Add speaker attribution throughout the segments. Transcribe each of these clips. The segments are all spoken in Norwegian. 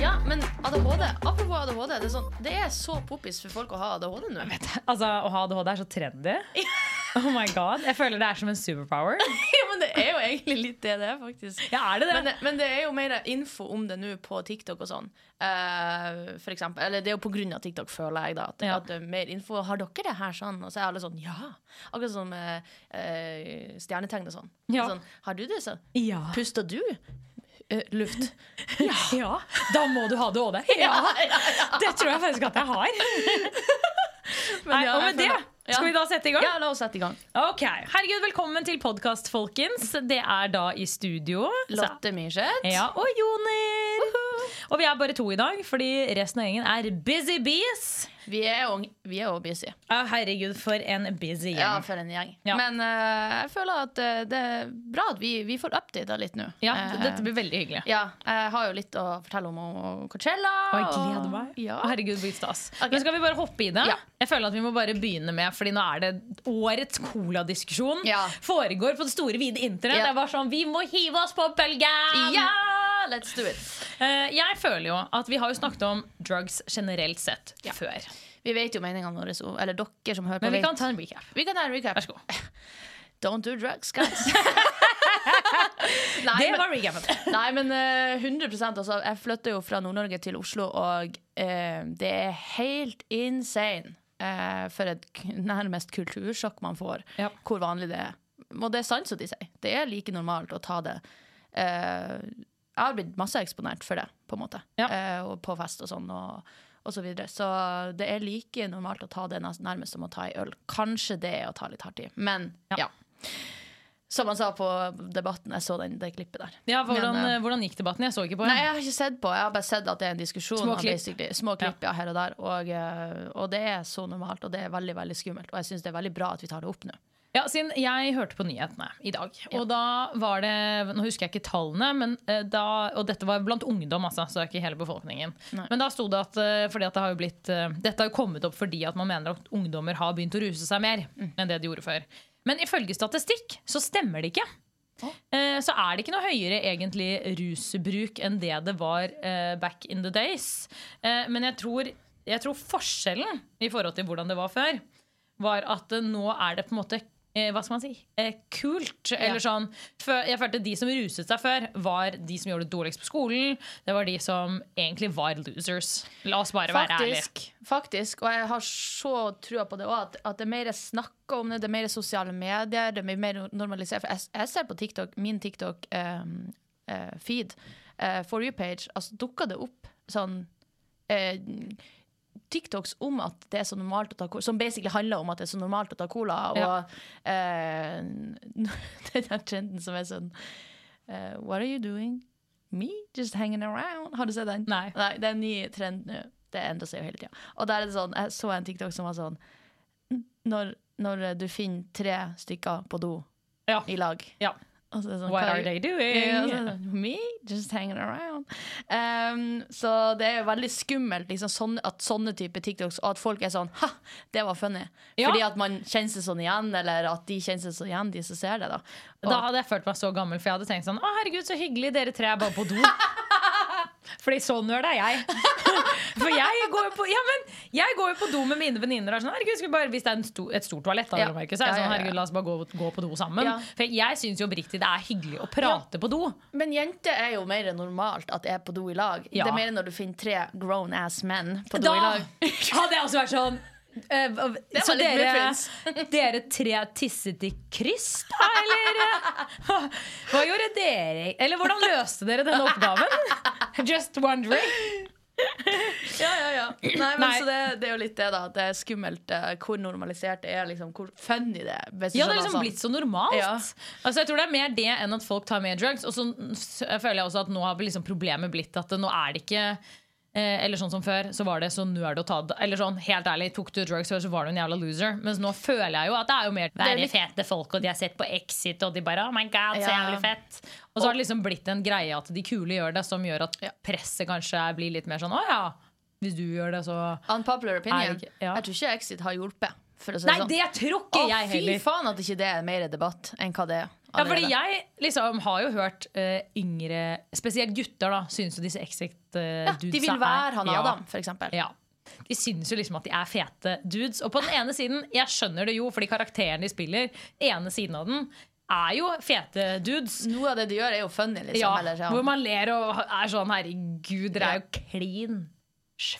Speaker 1: Ja, men ADHD, apropos ADHD, det er, sånn, det er så poppis for folk å ha ADHD nå.
Speaker 2: Altså, Å ha ADHD er så trendy. Oh my god, Jeg føler det er som en superpower.
Speaker 1: Ja, men det er jo egentlig litt det det er, faktisk.
Speaker 2: Ja, er det det?
Speaker 1: Men, det- men det er jo mer info om det nå på TikTok og sånn. Eh, for eksempel. Eller det er jo på grunn av TikTok, føler jeg, da. At,
Speaker 2: Ja.
Speaker 1: at det er mer info. Har dere det her sånn? Og så er alle sånn ja. Akkurat som eh, eh, stjernetegn og sånn.
Speaker 2: Ja.
Speaker 1: sånn. Har du det sånn?
Speaker 2: Ja.
Speaker 1: Puster du? Eh, luft.
Speaker 2: ja. Da må du ha ADHD. Ja. Det tror jeg faktisk at jeg har. Nei,
Speaker 1: ja,
Speaker 2: og
Speaker 1: jeg
Speaker 2: med det
Speaker 1: føler- ja.
Speaker 2: skal vi da sette i gang.
Speaker 1: Ja, la oss sette i gang.
Speaker 2: Ok, Herregud, velkommen til podkast, folkens. Det er da i studio. Så-
Speaker 1: Lotte Myrseth.
Speaker 2: Ja, og Joner. Og vi er bare to i dag, fordi resten av gjengen er busy bees.
Speaker 1: Vi er jo, vi er jo busy.
Speaker 2: Å, herregud, for en busy
Speaker 1: Ja,
Speaker 2: gjeng.
Speaker 1: for en gjeng.
Speaker 2: Ja.
Speaker 1: Men eh, jeg føler at eh, det er bra at vi, vi får updata litt nå.
Speaker 2: Ja,
Speaker 1: Eh,
Speaker 2: dette blir veldig hyggelig.
Speaker 1: ja, jeg har jo litt å fortelle om, om Coachella.
Speaker 2: Og jeg gleder meg.
Speaker 1: Ja.
Speaker 2: Å, Herregud, hvor stas.
Speaker 1: Ok.
Speaker 2: Men skal vi bare hoppe i det?
Speaker 1: Ja.
Speaker 2: Jeg føler at vi må bare begynne med Fordi nå er det årets coladiskusjon.
Speaker 1: Ja.
Speaker 2: Foregår på det store, vide internett.
Speaker 1: Ja.
Speaker 2: Det er bare sånn, Vi må hive oss på bølgen!
Speaker 1: ja, let's do it.
Speaker 2: Eh, jeg føler jo at vi har jo snakket om drugs generelt sett før.
Speaker 1: Vi vet jo meningene våre, så- eller dere som hører på.
Speaker 2: Men vi
Speaker 1: vet-
Speaker 2: kan ta en recap.
Speaker 1: vi kan ta en recap.
Speaker 2: Vær så god.
Speaker 1: Don't do drugs, guys. Nei,
Speaker 2: Det
Speaker 1: men-
Speaker 2: var recapen.
Speaker 1: Nei, men eh, 100 altså, Jeg flytta jo fra Nord-Norge til Oslo, og eh, det er helt insane eh, for et k- nærmest kultursjokk man får,
Speaker 2: Ja.
Speaker 1: hvor vanlig det er. Og det er sant som de sier. Det er like normalt å ta det. Eh, jeg har blitt masse eksponert for det, på en måte.
Speaker 2: Ja.
Speaker 1: Eh, og på fest og sånn. og og så, videre. så det er like normalt å ta det nas- nærmest som å ta ei øl. Kanskje det er å ta litt hardt i, men
Speaker 2: Ja.
Speaker 1: ja. Som han sa på Debatten, jeg så den, det klippet der.
Speaker 2: Ja, hvordan,
Speaker 1: Men, eh,
Speaker 2: eh, hvordan gikk debatten? Jeg så ikke på.
Speaker 1: Nei, jeg har ikke sett på. Jeg har bare sett at det er en diskusjon.
Speaker 2: Små
Speaker 1: og
Speaker 2: klipp.
Speaker 1: basically- Små klipp ja. her og der. Og, eh, og det er så normalt, og det er veldig veldig skummelt. Og jeg syns det er veldig bra at vi tar det opp nå.
Speaker 2: Ja, siden jeg hørte på nyhetene i dag, og da var det Nå husker jeg ikke tallene, men eh, da, og dette var blant ungdom, altså, så det er ikke hele befolkningen.
Speaker 1: Nei.
Speaker 2: Men da sto det at, eh, fordi at det har jo blitt, eh, dette har jo kommet opp fordi at man mener at ungdommer har begynt å ruse seg mer enn det de gjorde før. Men ifølge statistikk så stemmer det ikke. Eh, Så er det ikke noe høyere egentlig rusbruk enn det det var eh, back in the days. Eh, Men jeg tror, jeg tror forskjellen i forhold til hvordan det var før, var at eh, nå er det på en måte eh, hva skal man si? Eh, kult. Eller sånn før- Jeg følte de som ruset seg før, var de som gjorde det dårligst på skolen. Det var de som egentlig var losers. La oss bare være ærlige.
Speaker 1: Faktisk, faktisk. Og jeg har så trua på det òg, at, at det er mer snakka om det, det er mer sosiale medier, det er mer normalisert. For jeg, jeg ser på TikTok, ehm, min TikTok-feed, for you-page, altså dukker det opp sånn eh, TikToks om at det er så normalt å ta cola, som basically handler om at det er så normalt å ta cola. Og eh, den der trenden som er sånn eh, What are you doing? Me? Just hanging around? Har du sett den?
Speaker 2: Nei.
Speaker 1: det er en ny trend nå. Det endrer seg jo hele tida. Og der er det sånn, jeg så en TikTok som var sånn n- Når, når du finner tre stykker på do
Speaker 2: Ja.
Speaker 1: i lag
Speaker 2: ja.
Speaker 1: og så er det sånn,
Speaker 2: What
Speaker 1: hva-
Speaker 2: are they
Speaker 1: ja, så er
Speaker 2: doing?
Speaker 1: det sånn, Me? Just hanging around. Um, så det er jo veldig skummelt liksom, sånn, at sånne type TikToks, og at folk er sånn Ha, det var funny.
Speaker 2: Ja.
Speaker 1: Fordi at man kjenner seg sånn igjen, eller at de kjenner seg sånn igjen, de som ser det. da. Og,
Speaker 2: Da hadde jeg følt meg så gammel, for jeg hadde tenkt sånn Å, herregud, så hyggelig, dere tre er bare på do. Fordi sånn gjør det jeg. For jeg går jo på, ja, men, jeg går jo på do med mine venninner. og er Sånn, herregud, skal vi bare- hvis det er en sto, et stort toalett, da,
Speaker 1: Ja.
Speaker 2: vel å merke, så er
Speaker 1: Ja,
Speaker 2: jeg
Speaker 1: ja,
Speaker 2: sånn,
Speaker 1: ja.
Speaker 2: herregud, la oss bare gå, gå på do sammen.
Speaker 1: Ja.
Speaker 2: For jeg syns jo oppriktig det er hyggelig å prate på do.
Speaker 1: men jenter er jo mer normalt at jeg er på do i lag.
Speaker 2: Ja.
Speaker 1: Det er mer når du finner tre grown ass menn på do
Speaker 2: Da
Speaker 1: i
Speaker 2: hadde
Speaker 1: lag.
Speaker 2: jeg også vært sånn Eh, av-
Speaker 1: Det
Speaker 2: så
Speaker 1: var litt
Speaker 2: dere,
Speaker 1: muffins.
Speaker 2: dere tre tisset i kryss, da, eller? eh, Hva gjorde dere? Eller hvordan løste dere denne oppgaven? Just wondering.
Speaker 1: Ja, ja, ja. Nei, men
Speaker 2: Nei.
Speaker 1: Så det, det er jo litt det, da. At det er skummelt eh, hvor normalisert det er. Liksom, hvor funny det er. hvis du
Speaker 2: Ja,
Speaker 1: skjønner
Speaker 2: det har liksom
Speaker 1: sånn.
Speaker 2: blitt så normalt.
Speaker 1: Ja.
Speaker 2: Altså, jeg tror det er mer det enn at folk tar mer drugs. Og så s- føler jeg også at nå har liksom problemet blitt at nå er det ikke eh, Eller sånn som før, så var det så nerd å ta det. Eller sånn, helt ærlig, tok du drugs før, så var du en jævla loser. Mens nå føler jeg jo at det er jo mer
Speaker 1: er
Speaker 2: Være
Speaker 1: litt-
Speaker 2: fete folk, og de har sett på Exit, og de bare Oh my god, så
Speaker 1: Ja.
Speaker 2: jævlig fett. Og så har det liksom blitt en greie at de kule gjør det, som gjør at presset kanskje blir litt mer sånn Å ja, hvis du gjør det, så
Speaker 1: Unpopular
Speaker 2: Er
Speaker 1: opinion.
Speaker 2: det ikke- ja.
Speaker 1: Jeg tror ikke Exit har hjulpet. For å si
Speaker 2: Nei,
Speaker 1: sånn.
Speaker 2: det tror ikke
Speaker 1: Å,
Speaker 2: jeg heller.
Speaker 1: Fy faen at ikke det er mer debatt enn hva det er.
Speaker 2: Ja, fordi
Speaker 1: allerede.
Speaker 2: jeg liksom har jo hørt eh, yngre, spesielt gutter, da, syns jo disse eh, Exit-dudesa
Speaker 1: ja, de vil være han Adam, for eksempel.
Speaker 2: Ja. De syns jo liksom at de er fete dudes. Og på den ene siden, jeg skjønner det jo, fordi karakteren de spiller, ene siden av den, er jo fete dudes.
Speaker 1: Noe av det Mm, de gjør, er jo funny. Liksom,
Speaker 2: Ja,
Speaker 1: ellers, ja.
Speaker 2: Hvor man ler og er sånn Herregud, dere er jo klin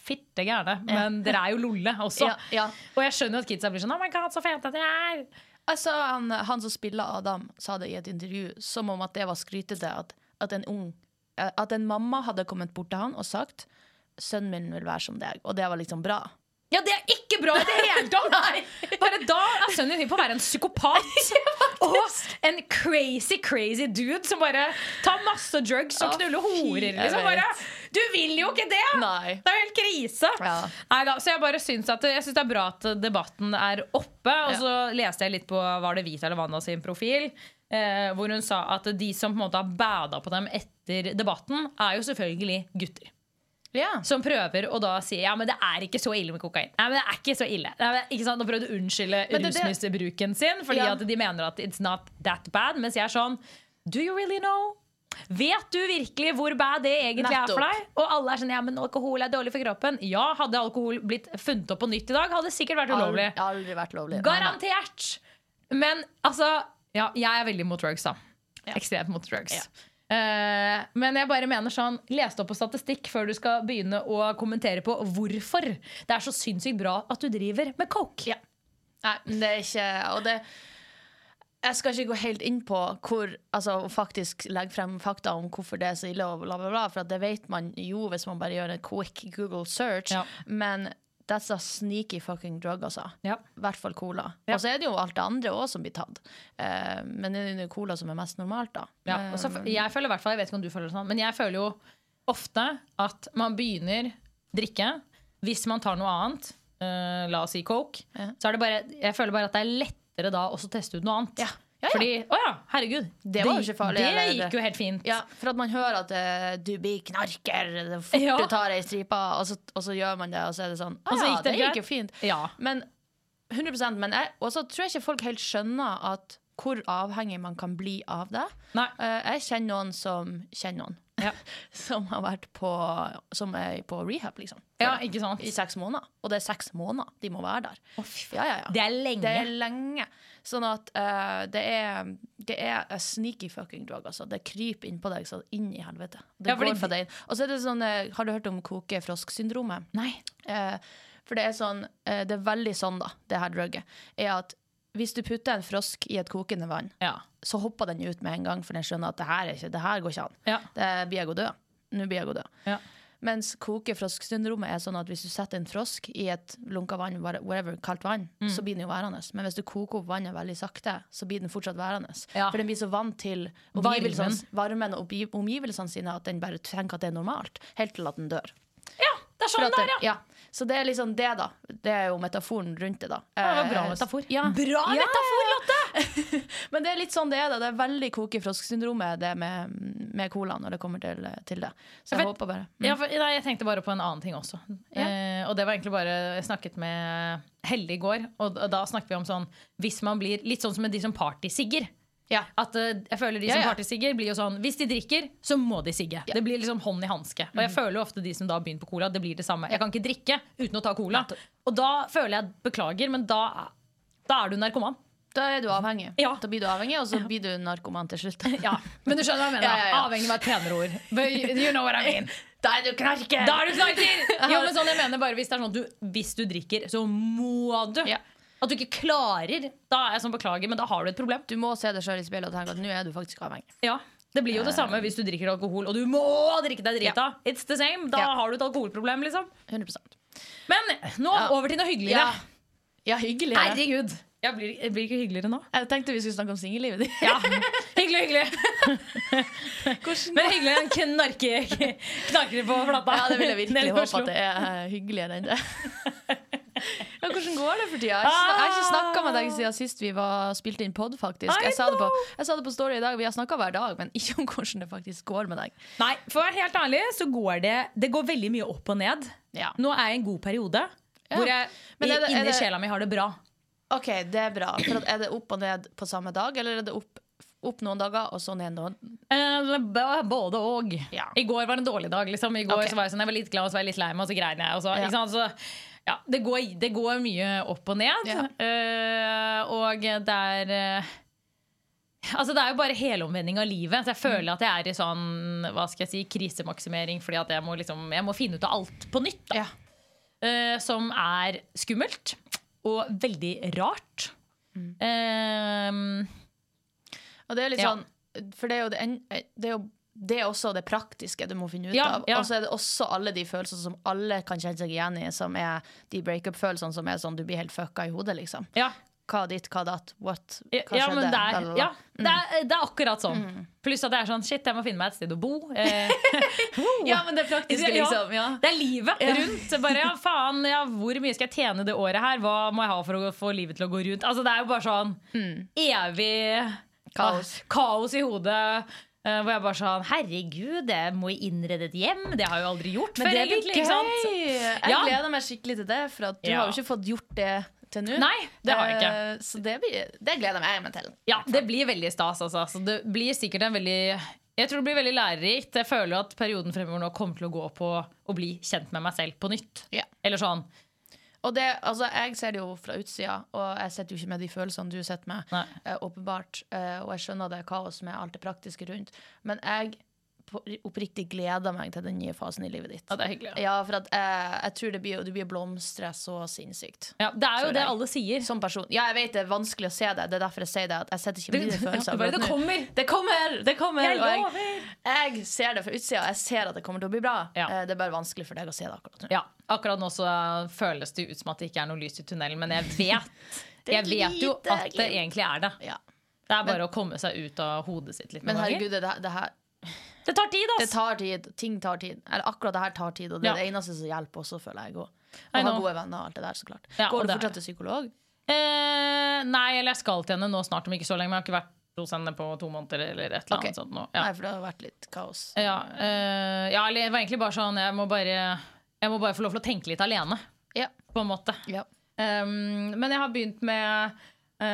Speaker 2: fitte gærne, men dere er jo lolle også.
Speaker 1: Ja, ja.
Speaker 2: Og jeg skjønner at kidsa blir sånn Oh my god, så fete dere er!
Speaker 1: Altså, han, han som spiller Adam, sa det i et intervju som om at det var skrytete. At, at, en ung, eh, at en mamma hadde kommet bort til han og sagt 'sønnen min vil være som deg', og det var liksom bra.
Speaker 2: Ja, det er ikke bra i det hele tatt! Bare da er sønnen din på å være en psykopat. og en crazy, crazy dude som bare tar masse drugs og
Speaker 1: Å,
Speaker 2: knuller
Speaker 1: fy,
Speaker 2: horer.
Speaker 1: jeg vet.
Speaker 2: Liksom. Bare, du vil jo ikke det!
Speaker 1: Nei.
Speaker 2: Det er jo helt krise.
Speaker 1: Ja.
Speaker 2: Neida, så jeg bare syns at jeg syns det er bra at debatten er oppe. Og
Speaker 1: Ja.
Speaker 2: så leste jeg litt på Var det Vita eller Wanda sin profil, eh, hvor hun sa at de som på en måte har bada på dem etter debatten, er jo selvfølgelig gutter som prøver å da si ja, men det er ikke så ille med kokain. Nei, men det er ikke så ille. Nei, men, ikke sant? Nå prøvde å unnskylde
Speaker 1: Men det- det-
Speaker 2: rusmisbruken sin, fordi
Speaker 1: Ja.
Speaker 2: at de mener at it's not that bad. Mens jeg er sånn Do you really know? Vet du virkelig hvor bad det egentlig er for
Speaker 1: Nettopp.
Speaker 2: deg? Og alle er sånn ja, men alkohol er dårlig for kroppen. Ja, hadde alkohol blitt funnet opp på nytt i dag, hadde det sikkert vært ulovlig.
Speaker 1: Aldri, aldri vært lovlig. Nei, nei.
Speaker 2: Garantert! Men altså ja, Jeg er veldig mot drugs, da. Ekstremt mot drugs. Eh, men jeg bare mener sånn les det opp på statistikk før du skal begynne å kommentere på hvorfor det er så sinnssykt bra at du driver med coke.
Speaker 1: Ja. Nei, men det er ikke Og det Jeg skal ikke gå helt inn på hvor Altså å faktisk legge frem fakta om hvorfor det er så ille, og bla, bla, bla, for at det vet man jo hvis man bare gjør en quick Google search,
Speaker 2: Ja.
Speaker 1: men that's a sneaky fucking drug, altså.
Speaker 2: Ja.
Speaker 1: I hvert fall cola.
Speaker 2: Ja.
Speaker 1: Og så er det jo alt det andre òg som blir tatt. Eh, men det er jo cola som er mest normalt, da. Eh,
Speaker 2: Ja, og så,
Speaker 1: Ehm.
Speaker 2: f- jeg føler i hvert fall, jeg vet ikke om du føler det sånn, men jeg føler jo ofte at man begynner drikke hvis man tar noe annet, eh, la oss si coke,
Speaker 1: Ja.
Speaker 2: så er det bare, jeg føler bare at det er lettere da også å teste ut noe annet.
Speaker 1: Ja. Ja, ja.
Speaker 2: Fordi, åja, herregud,
Speaker 1: Det var jo ikke farlig,
Speaker 2: det
Speaker 1: eller-
Speaker 2: gikk jo helt fint.
Speaker 1: Ja, for at man hører at eh, du blir knarker det er fort
Speaker 2: Ja.
Speaker 1: du tar ei stripe, og så, og så gjør man det, og så er det sånn ah,
Speaker 2: Og så
Speaker 1: ja,
Speaker 2: gikk det
Speaker 1: det gikk
Speaker 2: greit.»
Speaker 1: jo fint.
Speaker 2: Ja.
Speaker 1: Men 100 men jeg, Og så tror jeg ikke folk helt skjønner at hvor avhengig man kan bli av det.
Speaker 2: Nei.
Speaker 1: Eh, jeg kjenner noen som kjenner noen
Speaker 2: Ja.
Speaker 1: som har vært på Som er på rehab, liksom.
Speaker 2: Ja, ikke sant?
Speaker 1: I seks måneder. Og det er seks måneder de må være der. ja, ja, ja.
Speaker 2: Det er lenge.
Speaker 1: Det er lenge. Sånn at eh, det, er, det er a sneaky fucking drug, altså. Det kryper innpå deg så inn i helvete. Det
Speaker 2: Ja, fordi
Speaker 1: går fra deg inn. Og så er det sånn, eh, har du hørt om koke-frosk-syndromet?
Speaker 2: Nei.
Speaker 1: Eh, for det er sånn, eh, det er veldig sånn da, det her drugget, er at hvis du putter en frosk i et kokende vann,
Speaker 2: Ja.
Speaker 1: så hopper den ut med en gang, for den skjønner at det her, er ikke, det her går ikke an.
Speaker 2: Ja.
Speaker 1: Det blir jeg gå død. Nå blir jeg gå død.
Speaker 2: Ja.
Speaker 1: Mens kokefrosksyndromet er sånn at hvis du setter en frosk i et lunka vann, whate- whatever, kaldt vann,
Speaker 2: Mm.
Speaker 1: så blir den jo værende. Men hvis du koker opp vannet veldig sakte, så blir den fortsatt værende.
Speaker 2: Ja.
Speaker 1: For den blir så vant til omgivelsene, varmen og omgi- omgivelsene sine at den bare tenker at det er normalt, helt til at den dør.
Speaker 2: Ja, det er
Speaker 1: For
Speaker 2: sånn
Speaker 1: at
Speaker 2: det
Speaker 1: den-
Speaker 2: er, ja.
Speaker 1: ja. Så det er liksom det, da. Det er jo metaforen rundt det, da.
Speaker 2: Det var bra
Speaker 1: Eh,
Speaker 2: metafor.
Speaker 1: Ja.
Speaker 2: Bra
Speaker 1: Ja,
Speaker 2: metafor, Lotte!
Speaker 1: Men det er litt sånn det er, da. Det er veldig kokefrosksyndromet, det med, med colaen, når det kommer til, til det. Så jeg
Speaker 2: Ja, for-
Speaker 1: håper bare
Speaker 2: Ja, for, nei, jeg tenkte bare på en annen ting også.
Speaker 1: Ja.
Speaker 2: Eh, og det var egentlig bare Jeg snakket med Helle i går, og da, da snakket vi om sånn Hvis man blir litt sånn som med de som partysigger.
Speaker 1: Ja.
Speaker 2: At eh, jeg føler de
Speaker 1: Ja,
Speaker 2: som
Speaker 1: ja.
Speaker 2: partysigger blir jo sånn Hvis de drikker, så må de sigge. Det blir liksom hånd i hanske. Og jeg føler jo ofte de som da har begynt på cola, det blir det samme. Jeg kan ikke drikke uten å ta cola. Og da føler jeg Beklager, men da, da er du narkoman.
Speaker 1: Da er du avhengig.
Speaker 2: Ja.
Speaker 1: Da blir du avhengig, og så blir du narkoman til slutt.
Speaker 2: Ja, Men du skjønner hva jeg mener.
Speaker 1: Ja, ja, ja.
Speaker 2: Avhengig av et penere ord. But You know what I mean.
Speaker 1: Da er du knarker!
Speaker 2: Da er du knarker! Jo, men sånn jeg mener bare Hvis det er sånn at du, hvis du drikker, så må du.
Speaker 1: Ja.
Speaker 2: At du ikke klarer. Da er jeg sånn beklager, men da har du et problem.
Speaker 1: Du må se deg sjøl i speilet og tenke at nå er du faktisk avhengig.
Speaker 2: Ja, Det blir jo det samme hvis du drikker alkohol, og du må drikke deg drita. It's the same. Da
Speaker 1: Ja.
Speaker 2: har du et alkoholproblem, liksom.
Speaker 1: 100
Speaker 2: Men nå
Speaker 1: Ja.
Speaker 2: over til noe hyggeligere.
Speaker 1: Ja. Ja, hyggelig. ja.
Speaker 2: Herregud. Jeg blir, jeg blir ikke hyggeligere nå.
Speaker 1: Jeg tenkte vi skulle snakke om singellivet ditt.
Speaker 2: Ja, Hyggelig, hyggelig.
Speaker 1: Hvordan
Speaker 2: Men hyggelig en knarke, knarkere på flata.
Speaker 1: Ja, det vil jeg
Speaker 2: Nede i
Speaker 1: virkelig håpe
Speaker 2: Oslo.
Speaker 1: at det er eh, hyggeligere enn det. Ja, hvordan går det for tida? Jeg har ikke- jeg har ikke snakka med deg siden sist vi var, spilte inn pod, faktisk.
Speaker 2: I
Speaker 1: Jeg sa, det på,
Speaker 2: know.
Speaker 1: jeg sa det på Story i dag. Vi har snakka hver dag, men ikke om hvordan det faktisk går med deg.
Speaker 2: Nei, for å være helt ærlig så går det Det går veldig mye opp og ned.
Speaker 1: Ja.
Speaker 2: Nå er jeg i en god periode
Speaker 1: Ja.
Speaker 2: hvor jeg
Speaker 1: Men er det- er
Speaker 2: inni
Speaker 1: det-
Speaker 2: sjela mi har det bra.
Speaker 1: OK, det er bra. For at, er det opp og ned på samme dag, eller er det opp, opp noen dager og så ned noen?
Speaker 2: Eh, b- både og.
Speaker 1: Ja.
Speaker 2: I går var en dårlig dag. Liksom. I går
Speaker 1: Ok.
Speaker 2: så var jeg sånn, jeg var litt glad og så var jeg litt lei meg, og så grein jeg. Og så,
Speaker 1: Ja.
Speaker 2: ikke sant? Så, ja, det, går, det går mye opp og ned.
Speaker 1: Ja.
Speaker 2: Eh, og det er eh, Altså Det er jo bare helomvending av livet. Så jeg føler at jeg er i sånn Hva skal jeg si, krisemaksimering fordi at jeg må, liksom, jeg må finne ut av alt på nytt. Da.
Speaker 1: Ja.
Speaker 2: eh, som er skummelt og veldig rart. Eh,
Speaker 1: Og det er litt
Speaker 2: Ja.
Speaker 1: sånn For det er jo det, en, det er jo det er også det praktiske du må finne ut
Speaker 2: Ja,
Speaker 1: av.
Speaker 2: ja.
Speaker 1: Og så er det også alle de følelsene som alle kan kjenne seg igjen i, som er de breakup-følelsene som er sånn du blir helt fucka i hodet, liksom.
Speaker 2: ja.
Speaker 1: Hva ditt, hva datt, what,
Speaker 2: Ja,
Speaker 1: hva
Speaker 2: ja,
Speaker 1: skjedde?
Speaker 2: men det er,
Speaker 1: la, la, la.
Speaker 2: ja, det,
Speaker 1: Mm.
Speaker 2: er, det er akkurat sånn. Pluss at det er sånn shit, jeg må finne meg et sted å bo. Eh,
Speaker 1: Ja, men det praktiske,
Speaker 2: Ja.
Speaker 1: liksom. Ja.
Speaker 2: Det er livet rundt. Bare, ja, faen, ja, hvor mye skal jeg tjene det året her? Hva må jeg ha for å gå- få livet til å gå rundt? Altså, det er jo bare sånn evig
Speaker 1: Mm. Kaos.
Speaker 2: ah, kaos i hodet. eh, hvor jeg bare sånn Herregud, jeg må innrede et hjem. Det har jeg jo aldri gjort
Speaker 1: Men
Speaker 2: før.
Speaker 1: det blir
Speaker 2: egentlig,
Speaker 1: gøy!
Speaker 2: ikke sant?
Speaker 1: Jeg
Speaker 2: Ja.
Speaker 1: gleder meg skikkelig til det, for at du
Speaker 2: Ja.
Speaker 1: har jo ikke fått gjort det til nå.
Speaker 2: Nei, det har jeg ikke.
Speaker 1: Eh, Så det, blir, det gleder jeg meg til.
Speaker 2: Ja, det blir veldig stas, altså. Så det blir sikkert en veldig jeg tror det blir veldig lærerikt. Jeg føler at perioden fremover nå kommer til å gå på å bli kjent med meg selv på nytt.
Speaker 1: Ja.
Speaker 2: Eller sånn.
Speaker 1: Og det, altså, jeg ser det jo fra utsida, og jeg sitter jo ikke med de følelsene du sitter med.
Speaker 2: Nei.
Speaker 1: eh, åpenbart. Eh, og jeg skjønner det er kaos med alt det praktiske rundt. Men jeg på- oppriktig gleder meg til den nye fasen i livet ditt.
Speaker 2: Ja, det er hyggelig. Ja.
Speaker 1: Ja, for at, eh, jeg tror det blir, du blir blomstre så sinnssykt.
Speaker 2: det er
Speaker 1: Tror
Speaker 2: jo det
Speaker 1: jeg.
Speaker 2: alle sier.
Speaker 1: Som person. Ja, jeg vet det er vanskelig å se det. Det er derfor jeg sier det. At jeg sitter ikke med dine følelser.
Speaker 2: Ja, bare,
Speaker 1: akkurat
Speaker 2: det
Speaker 1: nå.
Speaker 2: kommer!
Speaker 1: Det kommer! Det kommer
Speaker 2: Jeg
Speaker 1: og
Speaker 2: lover!
Speaker 1: jeg, jeg ser det fra utsida. Jeg ser at det kommer til å bli bra.
Speaker 2: Ja.
Speaker 1: Eh, Det er bare vanskelig for deg å se det akkurat nå.
Speaker 2: Ja, akkurat nå så føles det ut som at det ikke er noe lys i tunnelen, men jeg vet,
Speaker 1: Det er
Speaker 2: jeg vet jo
Speaker 1: lite
Speaker 2: at det
Speaker 1: glimt.
Speaker 2: egentlig er det.
Speaker 1: Ja.
Speaker 2: Det er bare å komme seg ut av hodet sitt litt.
Speaker 1: Men
Speaker 2: noen ganger.
Speaker 1: herregud, det, det her
Speaker 2: det tar tid,
Speaker 1: Det
Speaker 2: altså!
Speaker 1: tar tid. Ting tar tid. Eller akkurat det her tar tid, og det er
Speaker 2: Ja.
Speaker 1: det eneste som hjelper også, føler jeg. Og,
Speaker 2: I
Speaker 1: og ha
Speaker 2: know.
Speaker 1: gode venner og alt det der, så klart.
Speaker 2: Ja, og
Speaker 1: Går du
Speaker 2: det er
Speaker 1: fortsatt
Speaker 2: det.
Speaker 1: til psykolog?
Speaker 2: Eh, nei, eller jeg skal til henne nå snart om ikke så lenge, men jeg har ikke vært hos henne på to måneder eller et eller annet
Speaker 1: Ok.
Speaker 2: sånt nå. Ja.
Speaker 1: Nei, for det har vært litt kaos.
Speaker 2: Ja, eh, ja, eller det var egentlig bare sånn jeg må bare, jeg må bare få lov til å tenke litt alene,
Speaker 1: Ja.
Speaker 2: på en måte.
Speaker 1: ja.
Speaker 2: Um, men jeg har begynt med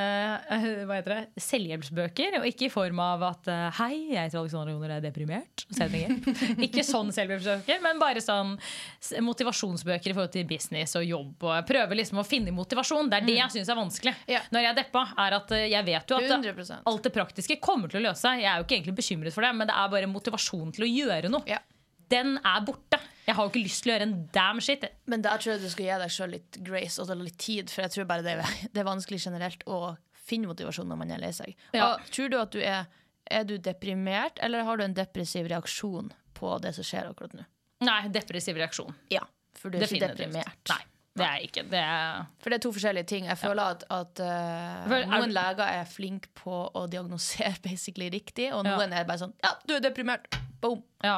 Speaker 2: eh, hva heter det? selvhjelpsbøker, og ikke i form av at eh, Hei, jeg heter Alexandra Joner, jeg er deprimert. Så jeg trenger hjelp. ikke sånn selvhjelpsbøker, men bare sånn s- motivasjonsbøker i forhold til business og jobb. Og jeg prøver liksom å finne motivasjon. Det er det jeg syns er vanskelig
Speaker 1: Mm. Ja.
Speaker 2: når jeg er deppa. Er at eh, jeg vet jo at det,
Speaker 1: 100
Speaker 2: alt det praktiske kommer til å løse seg. Jeg er jo ikke egentlig bekymret for det, men det er bare motivasjon til å gjøre noe.
Speaker 1: Ja.
Speaker 2: Den er borte. Jeg har jo ikke lyst til å gjøre en damn shit.
Speaker 1: Men der tror jeg du skal gi deg sjøl litt grace og litt tid, for jeg tror bare det er, det er vanskelig generelt å finne motivasjon når man er lei seg.
Speaker 2: Ja.
Speaker 1: Og Tror du at du er Er du deprimert, eller har du en depressiv reaksjon på det som skjer akkurat nå?
Speaker 2: Nei, depressiv reaksjon.
Speaker 1: Ja. For du er ikke
Speaker 2: Definitivt.
Speaker 1: deprimert.
Speaker 2: Nei, det er jeg ikke. Det er,
Speaker 1: For det er to forskjellige ting. Jeg føler at, at eh,
Speaker 2: For er-
Speaker 1: noen leger er flinke på å diagnosere basically riktig, og
Speaker 2: Ja.
Speaker 1: noen er bare sånn Ja, du er deprimert! Boom!
Speaker 2: ja.